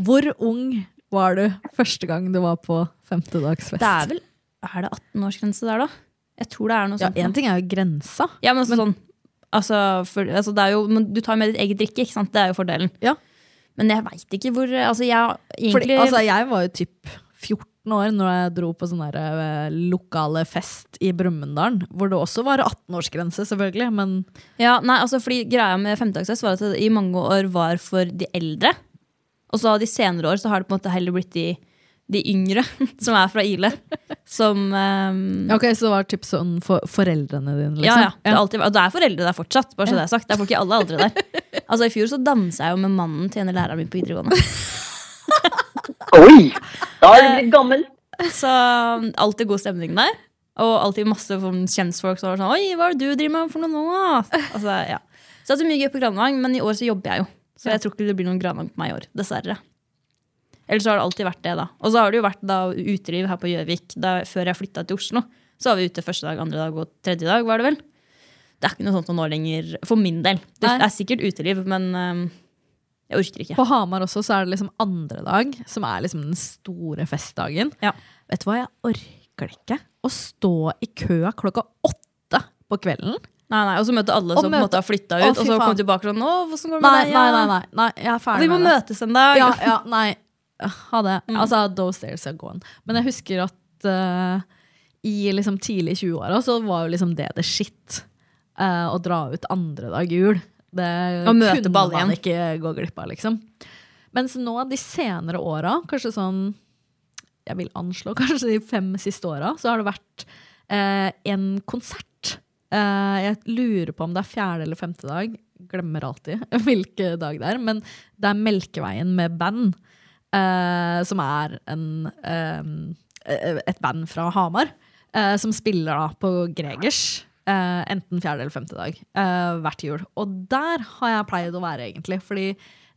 Speaker 2: Hvor ung var du første gang du var på femtedagsfest?
Speaker 3: Det er vel Er det 18-årsgrense der, da? Jeg tror det er noe
Speaker 2: ja,
Speaker 3: sånt.
Speaker 2: Én ting er jo grensa.
Speaker 3: Ja, men, altså sånn Altså, for, altså det er jo, men du tar med ditt eget drikke, ikke sant? Det er jo fordelen.
Speaker 2: Ja.
Speaker 3: Men jeg veit ikke hvor Altså, jeg egentlig
Speaker 2: Fordi, altså, jeg var jo typ 14 år når jeg dro på sånn der eh, lokale fest i Brumunddal, hvor det også var 18-årsgrense, selvfølgelig, men
Speaker 3: Ja, nei, altså fordi Greia med femtedagsfest var at det i mange år var for de eldre. Og så de senere år så har det på en måte heller blitt de, de yngre, som er fra Ile. Som ehm,
Speaker 2: Ok, så det var typ sånn for foreldrene dine,
Speaker 3: Ja, ja.
Speaker 2: liksom?
Speaker 3: Det er, alltid, og det er foreldre der fortsatt. bare så Det er sagt. Det er folk i alle aldre der. Altså I fjor så dansa jeg jo med mannen til en av læreren min på videregående.
Speaker 4: Oi! Da er
Speaker 3: Eh,
Speaker 4: du blitt gammel.
Speaker 3: Så alltid god stemning der. Og alltid masse sånn kjentfolk som var sånn Oi, hva er det du driver med for noe nå? da?» Altså, ja. Så det er mye gøy på Granvang, men i år så jobber jeg jo. Så jeg tror ikke det blir noen Granvang på meg i år. Dessverre. Eller så har det alltid vært det, da. Og så har det jo vært da uteliv her på Gjøvik da, før jeg flytta til Oslo. Så var vi ute første dag, andre dag og tredje dag, var det vel. Det er ikke noe sånt nå lenger, for min del. Det
Speaker 2: Nei.
Speaker 3: er sikkert uteliv, men øhm, jeg orker ikke.
Speaker 2: På Hamar også så er det liksom andre dag, som er liksom den store festdagen.
Speaker 3: Ja.
Speaker 2: Vet du hva, jeg orker ikke å stå i køa klokka åtte på kvelden.
Speaker 3: Nei, nei, Og så møte alle
Speaker 2: Og
Speaker 3: som på
Speaker 2: møte-
Speaker 3: en måte har flytta
Speaker 2: Å,
Speaker 3: ut, og
Speaker 2: fy
Speaker 3: så
Speaker 2: faen.
Speaker 3: komme tilbake sånn Å, hvordan går det med
Speaker 2: Nei,
Speaker 3: deg?
Speaker 2: nei,
Speaker 3: ja?»
Speaker 2: nei, nei, nei, jeg er ferdig
Speaker 3: Vi må
Speaker 2: med det.
Speaker 3: møtes en dag. Mm.
Speaker 2: Ja, ja, nei. Ha det. Altså, those stairs are gone. Men jeg husker at eh, i liksom tidlig 20-åra så var jo liksom det the shit. Eh, å dra ut andre dag jul. Det
Speaker 3: Og møte
Speaker 2: kunne
Speaker 3: på alle igjen.
Speaker 2: man ikke gå glipp av, liksom. Mens nå de senere åra, kanskje sånn Jeg vil anslå kanskje de fem siste åra, så har det vært eh, en konsert. Eh, jeg lurer på om det er fjerde eller femte dag. Glemmer alltid hvilken dag det er. Men det er Melkeveien med band, eh, som er en eh, eh, et band fra Hamar eh, som spiller da på Gregers. eh, enten fjerde eller femte dag eh, hvert jul. Og der har jeg pleid å være, egentlig. Fordi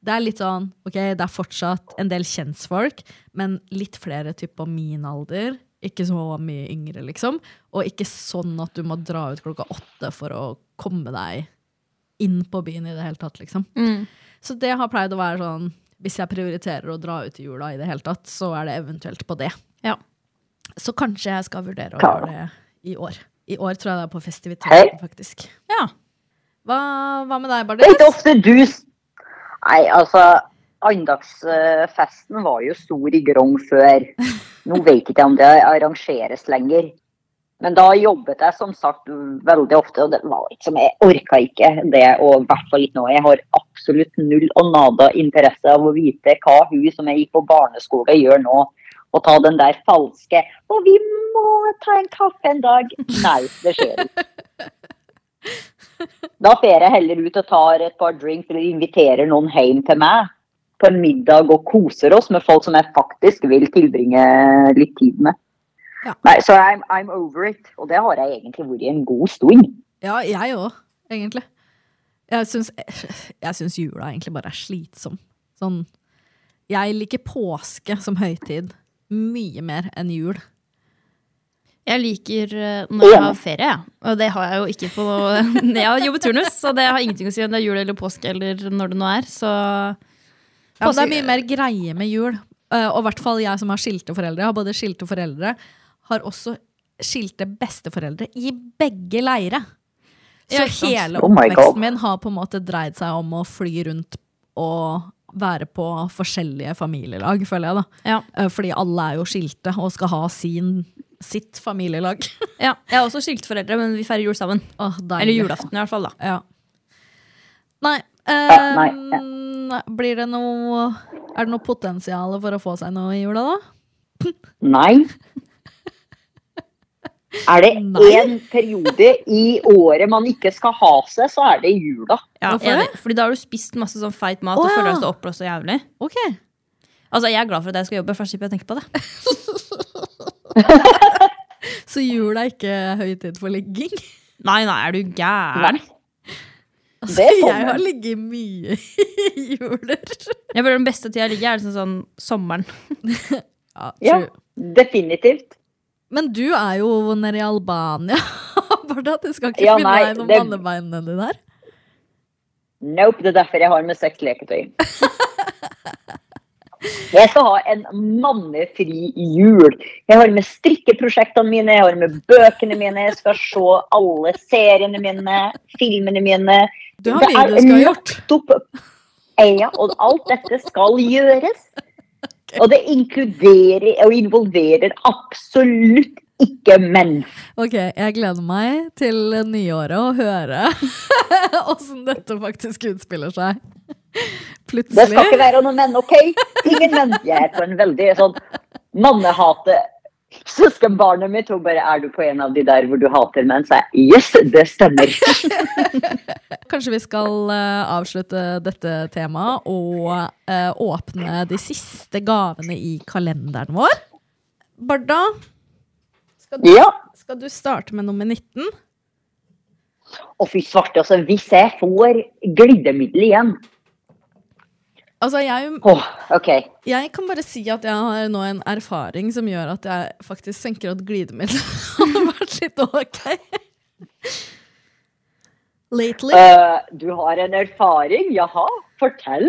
Speaker 2: det er litt sånn Ok, det er fortsatt en del kjentfolk, men litt flere typ på min alder. Ikke så mye yngre, liksom. Og ikke sånn at du må dra ut klokka åtte for å komme deg inn på byen i det hele tatt, liksom.
Speaker 3: Mm.
Speaker 2: Så det har pleid å være sånn Hvis jeg prioriterer å dra ut i jula i det hele tatt, så er det eventuelt på det.
Speaker 3: Ja.
Speaker 2: Så kanskje jeg skal vurdere å
Speaker 4: Klar.
Speaker 2: gjøre det i år. I år tror jeg det er på festiviteten, faktisk.
Speaker 3: Ja.
Speaker 2: Hva, hva med deg,
Speaker 4: Det er ikke
Speaker 2: Bardis?
Speaker 4: ofte du s- Nei, altså Andagsfesten var jo stor i Grong før. Nå vet ikke jeg om det arrangeres lenger. Men da jobbet jeg som sagt veldig ofte, og det var liksom, jeg orka ikke det. Og i hvert fall ikke nå. Jeg har absolutt null og nada interesse av å vite hva hun som jeg gikk på barneskole, gjør nå. Og ta den der falske 'Å, vi må ta en kaffe en dag'. Nei, det skjer ikke. Da fer jeg heller ut og tar et par drinks eller inviterer noen hjem til meg på en middag og koser oss med folk som jeg faktisk vil tilbringe litt tid med.
Speaker 2: Ja.
Speaker 4: Nei, så I'm, I'm over it. Og det har jeg egentlig vært i en god stund.
Speaker 2: Ja, jeg òg, egentlig. Jeg syns, jeg syns jula egentlig bare er slitsom. Sånn Jeg liker påske som høytid mye mer enn jul.
Speaker 3: Jeg liker eh, når jeg har ferie, jeg. og det har jeg jo ikke på Jeg har jobbet turnus, så det har ingenting å si om det er jul eller påske eller når det nå er. Så
Speaker 2: Ja, men det er mye mer greie med jul. Eh, og i hvert fall jeg som har skilte foreldre. Har både skilte foreldre, har også skilte besteforeldre i begge leire. Så
Speaker 3: Ja, ikke sant.
Speaker 2: hele
Speaker 4: Oh my God.
Speaker 2: oppveksten min har på en måte dreid seg om å fly rundt og være på forskjellige familielag, føler jeg. da.
Speaker 3: Ja.
Speaker 2: Eh, fordi alle er jo skilte og skal ha sin, sitt familielag.
Speaker 3: ja, jeg har også skilte foreldre, men vi feirer jul sammen.
Speaker 2: Åh, deilig.
Speaker 3: Eller julaften, i hvert fall. da
Speaker 2: Ja. Nei.
Speaker 4: Ja, nei, ja.
Speaker 2: ehm, Blir det noe Er det noe potensial for å få seg noe i jula, da?
Speaker 4: Nei. Er det
Speaker 2: Nei.
Speaker 4: én periode i året man ikke skal ha seg, så er det i jula.
Speaker 3: Ja,
Speaker 2: Hvorfor
Speaker 3: enig. Fordi da har du spist masse sånn feit mat
Speaker 2: Å,
Speaker 3: og føler
Speaker 2: ja.
Speaker 3: deg så oppblåst og jævlig.
Speaker 2: Ok.
Speaker 3: Altså, Jeg er glad for at jeg skal jobbe, for da slipper jeg å tenke på det.
Speaker 2: Så jul er ikke høytid for ligging?
Speaker 3: Nei, nei, er du gæren?
Speaker 2: Altså,
Speaker 4: Det
Speaker 2: jeg
Speaker 4: kommer.
Speaker 2: har ligget mye i juler.
Speaker 3: Jeg føler Den beste tida jeg ligger, er liksom sånn sommeren.
Speaker 2: Ja,
Speaker 4: Ja,
Speaker 2: true.
Speaker 4: definitivt.
Speaker 2: Men du er jo nede i Albania. Bare at du skal ikke
Speaker 4: Ja,
Speaker 2: finne
Speaker 4: nei,
Speaker 2: deg noen
Speaker 4: det-
Speaker 2: mannebein nedi der.
Speaker 4: Nope, det er derfor jeg har med seks leketøy. Jeg skal ha en mannefri jul. Jeg har med strikkeprosjektene mine, jeg har med bøkene mine, jeg skal se alle seriene mine, filmene mine.
Speaker 2: Du har mye du skal ha gjort.
Speaker 4: lagt opp Ja, og alt dette skal gjøres. Og det inkluderer og involverer absolutt ikke menn.
Speaker 2: Ok, jeg gleder meg til nyåret å høre åssen dette faktisk utspiller seg.
Speaker 4: Det skal ikke
Speaker 2: Plutselig.
Speaker 4: være noen menn, OK? Ingen menn. Jeg er på en veldig sånn mannehate. Søskenbarnet mitt hun bare Er du på en av de der hvor du hater menn? Så jeg yes, det stemmer.
Speaker 2: Kanskje vi skal eh, avslutte dette temaet og eh, åpne de siste gavene i kalenderen vår. Barda, skal du,
Speaker 4: Ja.
Speaker 2: skal du starte med nummer 19?
Speaker 4: Og fy svarte, altså. Hvis jeg får glidemiddel igjen
Speaker 2: Altså, jeg,
Speaker 4: Åh, OK.
Speaker 2: jeg kan bare si at jeg har nå en erfaring som gjør at jeg faktisk tenker at glidemiddel hadde vært litt ok. Lately.
Speaker 4: Eh, du har en erfaring? Jaha? Fortell.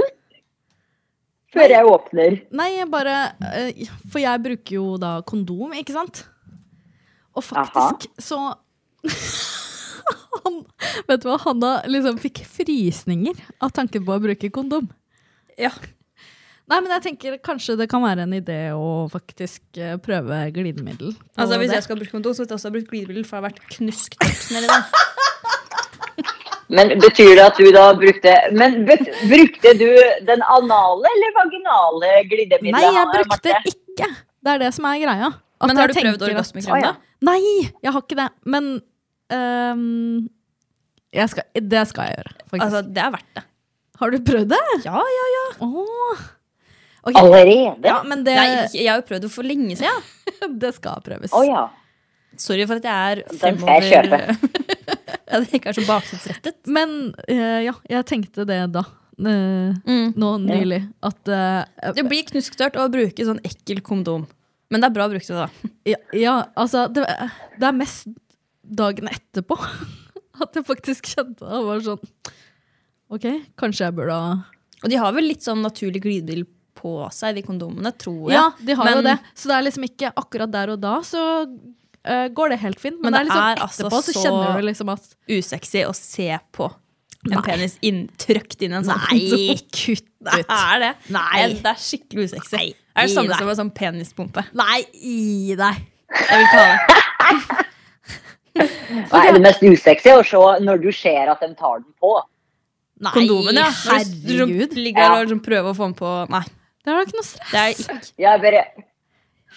Speaker 4: Før jeg åpner.
Speaker 2: Nei, jeg bare eh, For jeg bruker jo da kondom, ikke sant? Og faktisk så han, Vet du hva? Hanna liksom fikk frysninger av tanken på å bruke kondom.
Speaker 3: Ja.
Speaker 2: Nei, men jeg tenker kanskje det kan være en idé å faktisk eh, prøve glidemiddel. på
Speaker 3: Altså, Hvis
Speaker 2: det.
Speaker 3: jeg skal bruke kondom, så vil jeg også ha brukt glidemiddel, for jeg har vært liksom. knusktørt nedi der.
Speaker 4: Men betyr det at du da brukte Men bet- brukte du den anale eller vaginale glidemiddelet?
Speaker 2: Nei, jeg
Speaker 4: Marte?
Speaker 2: brukte ikke! Det er det som er greia. At
Speaker 3: Men har du
Speaker 2: jeg
Speaker 3: prøvd
Speaker 2: tenker at-
Speaker 3: orgasmekrem, da?
Speaker 2: Nei, jeg har ikke det. Men ehm, jeg skal, det skal jeg gjøre, faktisk.
Speaker 3: Altså, Det er verdt det.
Speaker 2: har du prøvd det?
Speaker 3: Ja, ja, ja.
Speaker 2: Åh. Ok,
Speaker 4: Allerede?
Speaker 2: Ja, men det,
Speaker 3: Nei, jeg har jo prøvd det for lenge siden.
Speaker 2: det skal prøves.
Speaker 4: Å ja.
Speaker 3: Sorry for at jeg er
Speaker 4: Den skal
Speaker 3: fremover
Speaker 4: jeg
Speaker 3: At jeg ikke er så baktidsrettet.
Speaker 2: Men eh, ja, jeg tenkte det da. eh, Nå nylig. At eh,
Speaker 3: Mm. Det blir knusktørt å bruke sånn ekkel kondom. Men det er bra å bruke det, da.
Speaker 2: Ja, ja altså det, det er mest dagen etterpå at jeg faktisk kjente det. og var sånn Ok, kanskje jeg burde ha
Speaker 3: Og de har vel litt sånn naturlig glidemiddel på seg, de kondomene, tror jeg.
Speaker 2: Ja, de har jo
Speaker 3: Men-
Speaker 2: det. Så det er liksom ikke akkurat der og da, så eh, går det helt fint. Men, det er liksom
Speaker 3: altså
Speaker 2: etterpå, så
Speaker 3: så-
Speaker 2: kjenner du liksom at
Speaker 3: Usexy å se på en
Speaker 2: Nei.
Speaker 3: penis inn, trøkt inn i en sånn
Speaker 2: Nei,
Speaker 3: kondom. Det er det.
Speaker 2: Nei.
Speaker 3: Det er skikkelig usexy. Det er det
Speaker 2: Gi
Speaker 3: samme
Speaker 2: deg.
Speaker 3: som en sånn penispumpe.
Speaker 2: Nei, gi deg!
Speaker 3: Jeg vil ikke ha det.
Speaker 4: Hva er det mest usexy å se når du ser at de tar den på?
Speaker 2: Nei,
Speaker 3: Kondomene, ja. Når du
Speaker 2: herregud.
Speaker 3: rump- ligger der og liksom prøver å få den på Nei.
Speaker 2: Det er da ikke noe stress.
Speaker 3: Det er ikke
Speaker 4: Jeg bare,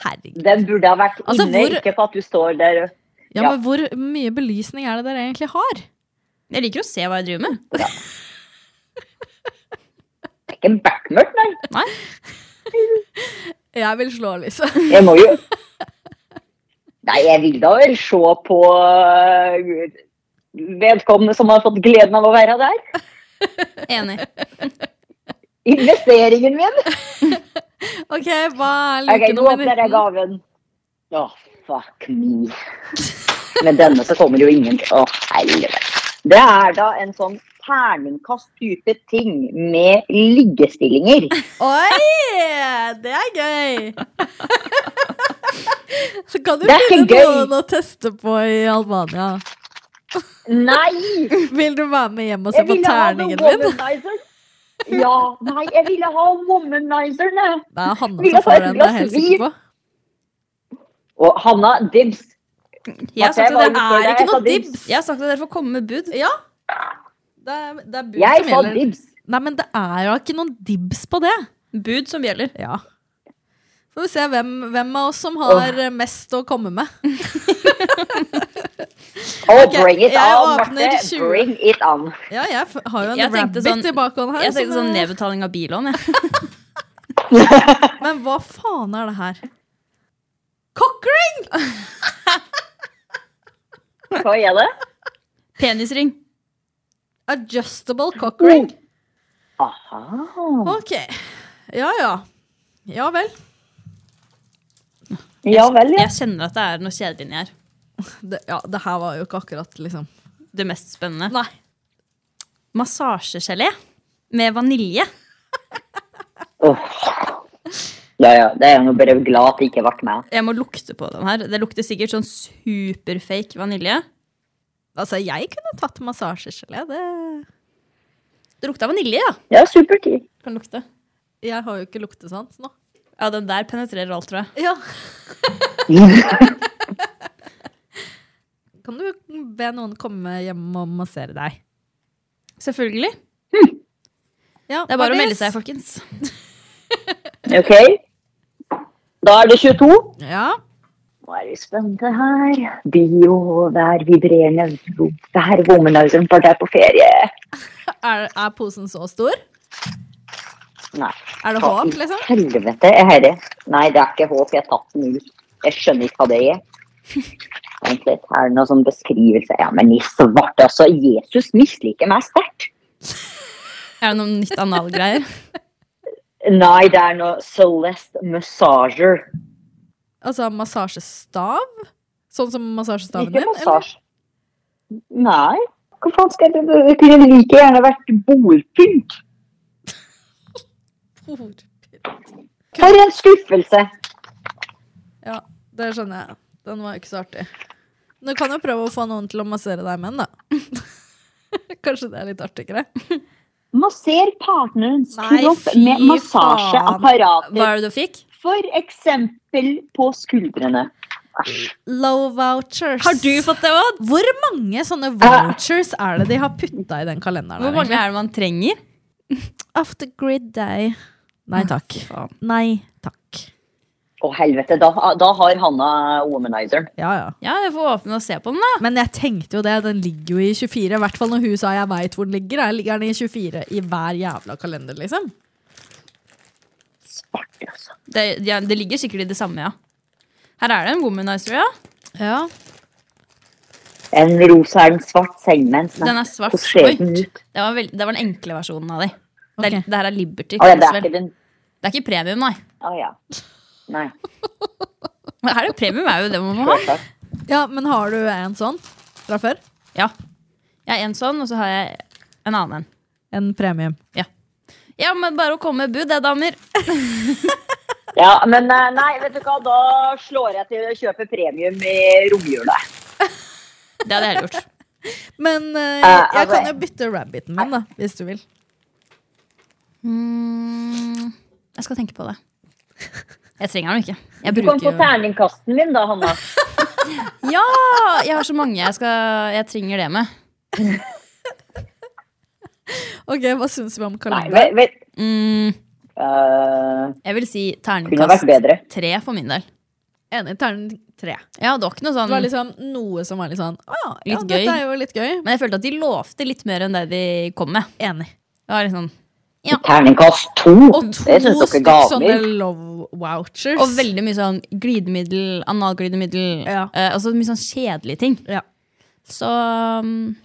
Speaker 2: Herregud.
Speaker 4: den burde ha vært
Speaker 2: Altså,
Speaker 4: inne,
Speaker 2: hvor-
Speaker 4: ikke på at du står der.
Speaker 2: Ja,
Speaker 4: Ja.
Speaker 2: men hvor mye belysning er det dere egentlig har?
Speaker 3: Jeg liker å se hva jeg driver med.
Speaker 4: Det er ikke backmurt, nei.
Speaker 3: Nei.
Speaker 2: Jeg vil slå, liksom. Lise.
Speaker 4: Jeg må jo Nei, jeg vil da vel se på øh, vedkommende som har fått gleden av å være der.
Speaker 3: Enig.
Speaker 4: Investeringen min!
Speaker 2: Ok, hva er
Speaker 4: Ok,
Speaker 2: like
Speaker 4: nå
Speaker 2: nummer
Speaker 4: åpner
Speaker 2: 19?
Speaker 4: jeg gaven. Å, fuck me. Med denne så kommer jo ingen Å, helvete. Det er da en sånn terningkast type ting med liggestillinger.
Speaker 2: Oi! Det er gøy! Så kan du
Speaker 4: Det er
Speaker 2: finne
Speaker 4: ikke gøy.
Speaker 2: noen å teste på i Albania.
Speaker 4: Nei!
Speaker 2: Vil du være med hjem og se Altså,
Speaker 4: Jeg
Speaker 2: på
Speaker 4: ville ha noen
Speaker 2: terningen din?
Speaker 4: womanizer. Ja, nei, jeg ville ha womanizeren, jeg.
Speaker 2: Det er Hanna
Speaker 4: Vil
Speaker 2: som
Speaker 4: jeg ta
Speaker 2: får
Speaker 4: et
Speaker 2: den, det er
Speaker 4: glass
Speaker 2: jeg helt sikker
Speaker 4: vin?
Speaker 2: på.
Speaker 4: Og Hanna Dibs.
Speaker 3: Jeg har
Speaker 4: At jeg
Speaker 3: sagt at
Speaker 4: var
Speaker 3: det
Speaker 4: ute før
Speaker 3: er
Speaker 4: deg,
Speaker 3: ikke
Speaker 4: jeg sa
Speaker 3: noe
Speaker 4: dibs.
Speaker 3: dibs. Jeg har sagt at dere får komme med bud.
Speaker 2: Ja. Det er, det er bud
Speaker 4: Jeg
Speaker 2: som
Speaker 4: sa
Speaker 2: gjelder.
Speaker 4: dibs.
Speaker 2: Nei, men det er da ikke noen dibs på det.
Speaker 3: Bud som gjelder.
Speaker 2: Ja. Får vi se hvem, hvem av oss som har eh, mest å komme med.
Speaker 4: Oh,
Speaker 2: Ok,
Speaker 4: bring it
Speaker 2: jeg
Speaker 4: on,
Speaker 2: åpner
Speaker 4: Marte.
Speaker 2: 20.
Speaker 4: Bring it on.
Speaker 2: Ja, jeg f- har jo en
Speaker 3: Jeg tenkte
Speaker 2: rabbit
Speaker 3: sånn-
Speaker 2: i bakhånd her.
Speaker 3: Jeg tenkte
Speaker 2: som
Speaker 3: sånn
Speaker 2: er-
Speaker 3: nedbetaling av billån. jeg.
Speaker 2: Men hva faen er det her? Cockring!
Speaker 4: Hva er det?
Speaker 3: Penisring.
Speaker 2: Adjustable cockring.
Speaker 4: Aha.
Speaker 2: Ok. Ja, ja. Ja vel.
Speaker 4: Ja vel, ja.
Speaker 3: Jeg kjenner at det er noe kjedelig inni her.
Speaker 2: Det, ja, det her var jo ikke akkurat liksom
Speaker 3: Det mest spennende.
Speaker 2: Nei.
Speaker 3: Massasjegelé med vanilje.
Speaker 4: Åh. Ja, ja. Det er jeg nå bare glad at det ikke ble meg.
Speaker 3: Jeg må lukte på den her. Det lukter sikkert sånn superfake vanilje.
Speaker 2: Altså, jeg kunne tatt massasjegelé. Det
Speaker 3: Det lukta vanilje, ja.
Speaker 4: Ja, supert. Jeg
Speaker 3: Kan lukte.
Speaker 2: Jeg har jo ikke luktesans nå.
Speaker 3: Ja, den der penetrerer alt, tror jeg.
Speaker 2: Ja. kan du be noen komme hjem og massere deg?
Speaker 3: Selvfølgelig.
Speaker 2: Ja,
Speaker 3: Det er bare å melde
Speaker 2: Martis.
Speaker 3: seg, folkens.
Speaker 4: OK. Da er det 22.
Speaker 2: Ja.
Speaker 4: Nå er vi spente her. Bio, vær vibrerende. Det her er womanizeren for deg på ferie.
Speaker 2: Er, er posen så stor?
Speaker 4: Nei.
Speaker 2: Er det
Speaker 4: hva i
Speaker 2: håp, liksom?
Speaker 4: Helvete, er herre. Nei, det er ikke håp. Jeg har tatt den ut. Jeg skjønner ikke hva det er. Vent litt, her er det noe sånn beskrivelse. Ja, men i svarte, altså. Jesus misliker meg sterkt.
Speaker 3: Er det noe nytt analgreier?
Speaker 4: Nei, det er noe Celeste Massager.
Speaker 2: Altså massasjestav? Sånn som massasjestaven
Speaker 4: Ikke
Speaker 2: din? eller?
Speaker 4: massasje. Nei. Hva faen skal jeg Det kunne like gjerne vært bordpynt. For en skuffelse!
Speaker 2: Ja, det skjønner jeg. Den var ikke så artig. Du kan jo prøve å få noen til å massere deg med den, da. Kanskje det er litt artigere.
Speaker 4: Masser partnerens
Speaker 2: Nei,
Speaker 4: kropp
Speaker 2: fy
Speaker 4: med massasjeapparater.
Speaker 3: Hva er det du fikk?
Speaker 4: For eksempel på skuldrene.
Speaker 2: Low vouchers.
Speaker 3: Har du fått det òg?
Speaker 2: Hvor mange sånne vouchers er det de har putta i den kalenderen?
Speaker 3: Hvor
Speaker 2: her,
Speaker 3: mange er det man trenger?
Speaker 2: egentlig? After grid day. Nei takk. Nei takk.
Speaker 4: Å, helvete. Da, da har Hanna womanizeren.
Speaker 2: Ja, ja.
Speaker 3: Ja, jeg får åpne og se på den, da.
Speaker 2: Men jeg tenkte jo det, den ligger jo i 24. I hvert fall når hun sa jeg veit hvor den ligger. Her ligger den i 24 i hver jævla kalender, liksom.
Speaker 4: artig, altså.
Speaker 3: Det, ja, det ligger sikkert i det samme, ja. Her er det en womanizer, ja.
Speaker 2: Ja.
Speaker 4: En rosa er den svart sengemens.
Speaker 3: Den er svart.
Speaker 4: Hvordan ser
Speaker 3: Oi.
Speaker 4: den ut?
Speaker 3: Det var, veld, det var den enkle versjonen av de. Det,
Speaker 2: Ok.
Speaker 3: er- det her er Liberty.
Speaker 4: Å ja, det
Speaker 3: kalles
Speaker 4: er
Speaker 3: vel.
Speaker 4: ikke den
Speaker 3: det er ikke premium, nei.
Speaker 4: Å ja. Nei,
Speaker 3: Men Her er det premium, er jo det man må ha.
Speaker 4: sjølsagt.
Speaker 2: ja, men har du en sånn fra før?
Speaker 3: Ja. Jeg har en sånn, og så har jeg en annen en.
Speaker 2: En premium.
Speaker 3: Ja, men bare å komme med bud, det, damer.
Speaker 4: Ja, men eh, nei, vet du hva, da slår jeg til å kjøpe premium i romjula.
Speaker 3: Det hadde jeg gjort.
Speaker 2: Men eh,
Speaker 4: Eh,
Speaker 2: jeg kan
Speaker 4: altså-
Speaker 2: jo bytte rabbiten min, da, hvis du vil.
Speaker 3: Mm, jeg skal tenke på det. Jeg trenger den jo ikke. Jeg
Speaker 4: Du kan
Speaker 3: bruker
Speaker 4: få
Speaker 3: jo
Speaker 4: terningkasten min da, Hanna.
Speaker 3: Ja! Jeg har så mange jeg, skal, jeg trenger det med.
Speaker 2: Ok, Hva syns vi om
Speaker 4: Nei,
Speaker 2: kalender?
Speaker 4: vet, vet.
Speaker 3: Mm,
Speaker 4: eh,
Speaker 3: jeg vil si
Speaker 4: Kunne vært
Speaker 3: terningkast
Speaker 4: bedre.
Speaker 3: tre for min del.
Speaker 2: Enig. Terning tre.
Speaker 3: Ja, det var ikke noe
Speaker 2: Det var
Speaker 3: sånn
Speaker 2: liksom noe som var litt sånn Å ja, ja,
Speaker 3: Litt
Speaker 2: dette
Speaker 3: gøy.
Speaker 2: er jo litt gøy.
Speaker 3: Men jeg følte at de lovte litt mer enn det de kom med.
Speaker 2: Enig.
Speaker 3: Det var litt sånn
Speaker 4: Terningkast to!
Speaker 2: Og
Speaker 4: det
Speaker 2: to
Speaker 4: syns dere
Speaker 2: stykk
Speaker 4: ga
Speaker 2: sånne
Speaker 4: meg.
Speaker 2: love vouchers.
Speaker 3: Og veldig mye sånn glidemiddel, analglidemiddel.
Speaker 2: Ja.
Speaker 3: Eh, altså mye sånn kjedelige ting.
Speaker 2: Ja.
Speaker 3: Så um,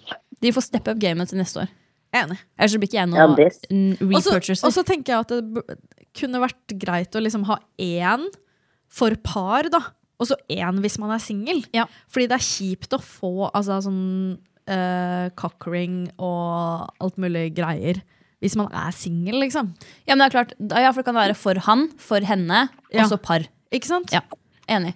Speaker 3: de får steppe opp gamet til neste år.
Speaker 2: Enig.
Speaker 3: Ellers så blir ikke jeg noe
Speaker 4: Ja, det-
Speaker 3: n-
Speaker 2: Og så-
Speaker 3: repurchaser.
Speaker 2: Og så tenker jeg at det b- kunne vært greit å liksom ha én for par, da. Og så én hvis man er singel.
Speaker 3: Ja.
Speaker 2: Fordi det er kjipt å få altså, sånn eh, cockring og alt mulig greier hvis man er singel, liksom.
Speaker 3: ja, men det er klart, da- ja, for det kan være for han, for henne,
Speaker 2: Ja.
Speaker 3: og så par.
Speaker 2: Ikke sant?
Speaker 3: Ja, Enig.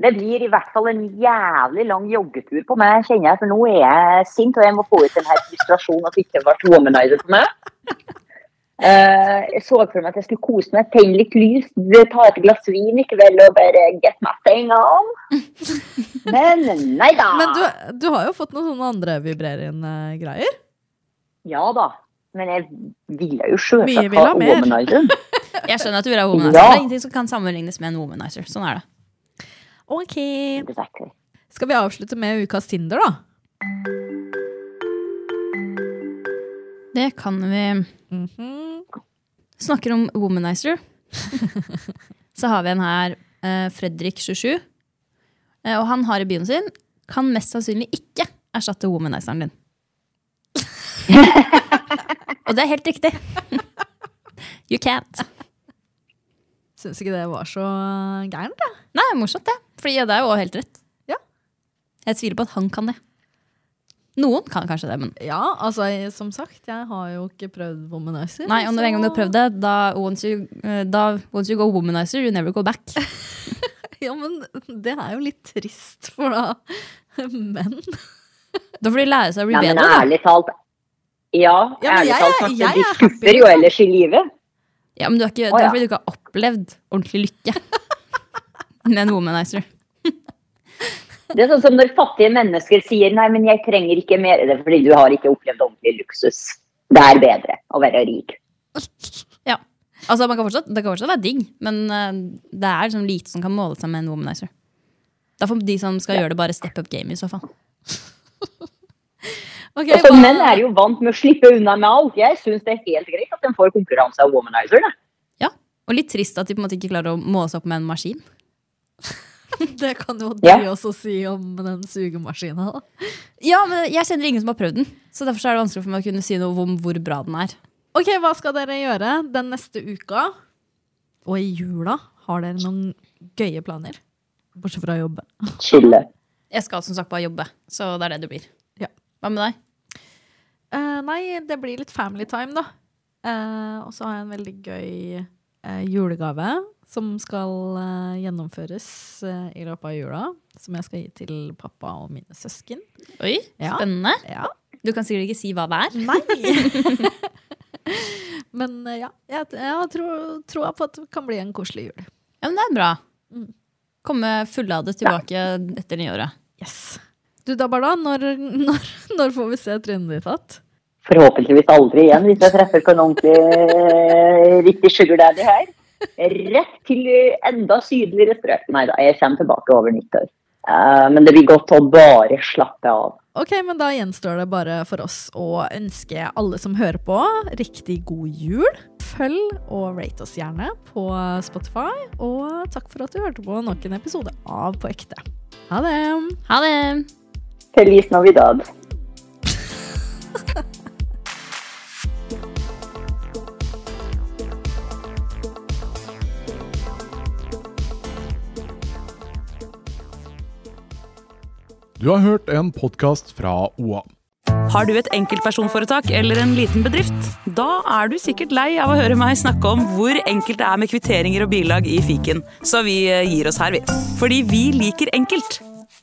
Speaker 4: Det blir i hvert fall en jævlig lang joggetur på meg, kjenner jeg. For nå er jeg sint, og jeg må få ut den her frustrasjonen at det ikke ble womanizer på meg. Eh, jeg så for meg at jeg skulle kose meg, tenne litt lys, ta et glass vin i kveld og bare get my thing on. Men nei da.
Speaker 2: Men du, du har jo fått noen sånne andre vibrerende greier.
Speaker 4: Ja da. Men jeg ville
Speaker 2: Mye
Speaker 4: jo sjølsagt
Speaker 2: vil
Speaker 4: ha
Speaker 2: ha mer.
Speaker 4: womanizer.
Speaker 3: Jeg skjønner at du vil ha womanizer.
Speaker 4: Ja.
Speaker 3: Det er ingenting som kan sammenlignes med en womanizer. Sånn er det.
Speaker 2: Ok.
Speaker 4: Exactly.
Speaker 2: Skal vi avslutte med ukas Tinder, da?
Speaker 3: Det kan vi
Speaker 2: Mm-hmm.
Speaker 3: Snakker om womanizer. så har vi en her, eh, Fredrik 27. Eh, og han har i byen sin Kan mest sannsynlig ikke erstatte womanizeren din. og det er helt riktig. you can't.
Speaker 2: Syns ikke det var så eh, gærent, jeg.
Speaker 3: Nei, morsomt det. Fordi det er jo også helt rett.
Speaker 2: Ja.
Speaker 3: Jeg tviler på at han kan det. Noen kan kanskje det, men
Speaker 2: Ja, altså, jeg- som sagt, jeg har jo ikke prøvd womanizer.
Speaker 3: Nei, om du
Speaker 2: så-
Speaker 3: en gang du har prøvd det, da once you, eh, da, once you go womanizer, you never go back.
Speaker 2: Ja, men det er jo litt trist for da menn.
Speaker 3: Da får de lære seg å bli
Speaker 4: Nei, men
Speaker 3: bedre. Da.
Speaker 4: ærlig talt. Ja,
Speaker 2: Ja, men
Speaker 4: ærlig
Speaker 2: jeg
Speaker 4: talt.
Speaker 2: er- jeg
Speaker 4: Martin, de
Speaker 2: er happy, liksom.
Speaker 4: skuffer jo ellers i livet.
Speaker 3: Ja, men du er ikke,
Speaker 4: Å,
Speaker 3: Det
Speaker 4: ja.
Speaker 3: er fordi du ikke har opplevd ordentlig lykke med en womanizer.
Speaker 4: Det er sånn som når fattige mennesker sier nei, men jeg trenger ikke mer. Det er fordi du har ikke opplevd ordentlig luksus. Det er bedre å være rik.
Speaker 3: Ja. Altså, man kan fortsatt, Det kan fortsatt være digg, men eh, det er liksom lite som kan måle seg med en womanizer. Da får de som skal gjøre det, bare step up game i så fall.
Speaker 2: Ok,
Speaker 4: Og så
Speaker 2: hva-
Speaker 4: Menn er jo vant med å slippe unna med alt. Jeg syns det er helt greit at de får konkurranse av womanizer. Da.
Speaker 3: Ja, Og litt trist at de på en måte ikke klarer å måle seg opp med en maskin.
Speaker 2: Det kan jo de
Speaker 4: Ja.
Speaker 2: også si om den sugemaskina, da.
Speaker 3: Ja, men Jeg kjenner ingen som har prøvd den, så derfor så er det vanskelig for meg å kunne si noe om hvor bra den er.
Speaker 2: Ok, hva skal dere gjøre den neste uka? Og i jula, har dere noen gøye planer? Bortsett fra jobbe.
Speaker 4: Chille.
Speaker 3: Jeg skal som sagt bare jobbe, så det er det det blir.
Speaker 2: Ja.
Speaker 3: Hva med deg?
Speaker 2: Eh, nei, det blir litt family time, da. Eh, og så har jeg en veldig gøy eh, julegave som skal eh, gjennomføres eh, i løpet av jula. Som jeg skal gi til pappa og mine søsken.
Speaker 3: Oi,
Speaker 2: Ja.
Speaker 3: Spennende.
Speaker 2: Ja.
Speaker 3: Du kan sikkert ikke si hva det er.
Speaker 2: Nei! Men eh, ja, jeg, jeg tror, tror på at det kan bli en koselig jul.
Speaker 3: Ja, men det er bra. Komme fulladet tilbake etter nyåret.
Speaker 2: Yes. Du da, Barda, når, når, når får vi se trynet ditt igjen?
Speaker 4: Forhåpentligvis aldri igjen, hvis jeg treffer på en ordentlig eh, riktig sugar daddy her. Rett til enda sydligere strøk. Nei da, jeg kommer tilbake over nyttår. Eh, men det blir godt å bare slappe av.
Speaker 2: Ok, men da gjenstår det bare for oss å ønske alle som hører på, riktig god jul. Følg og rate oss gjerne på Spotify. Og takk for at du hørte på nok en episode av På ekte. Ha det!
Speaker 3: Ha det!
Speaker 4: Feliz Navidad.
Speaker 1: Du har hørt en podkast fra OA.
Speaker 5: Har du et enkeltpersonforetak eller en liten bedrift? Da er du sikkert lei av å høre meg snakke om hvor enkelt det er med kvitteringer og bilag i fiken, så vi eh, gir oss her, vi. Fordi vi liker enkelt.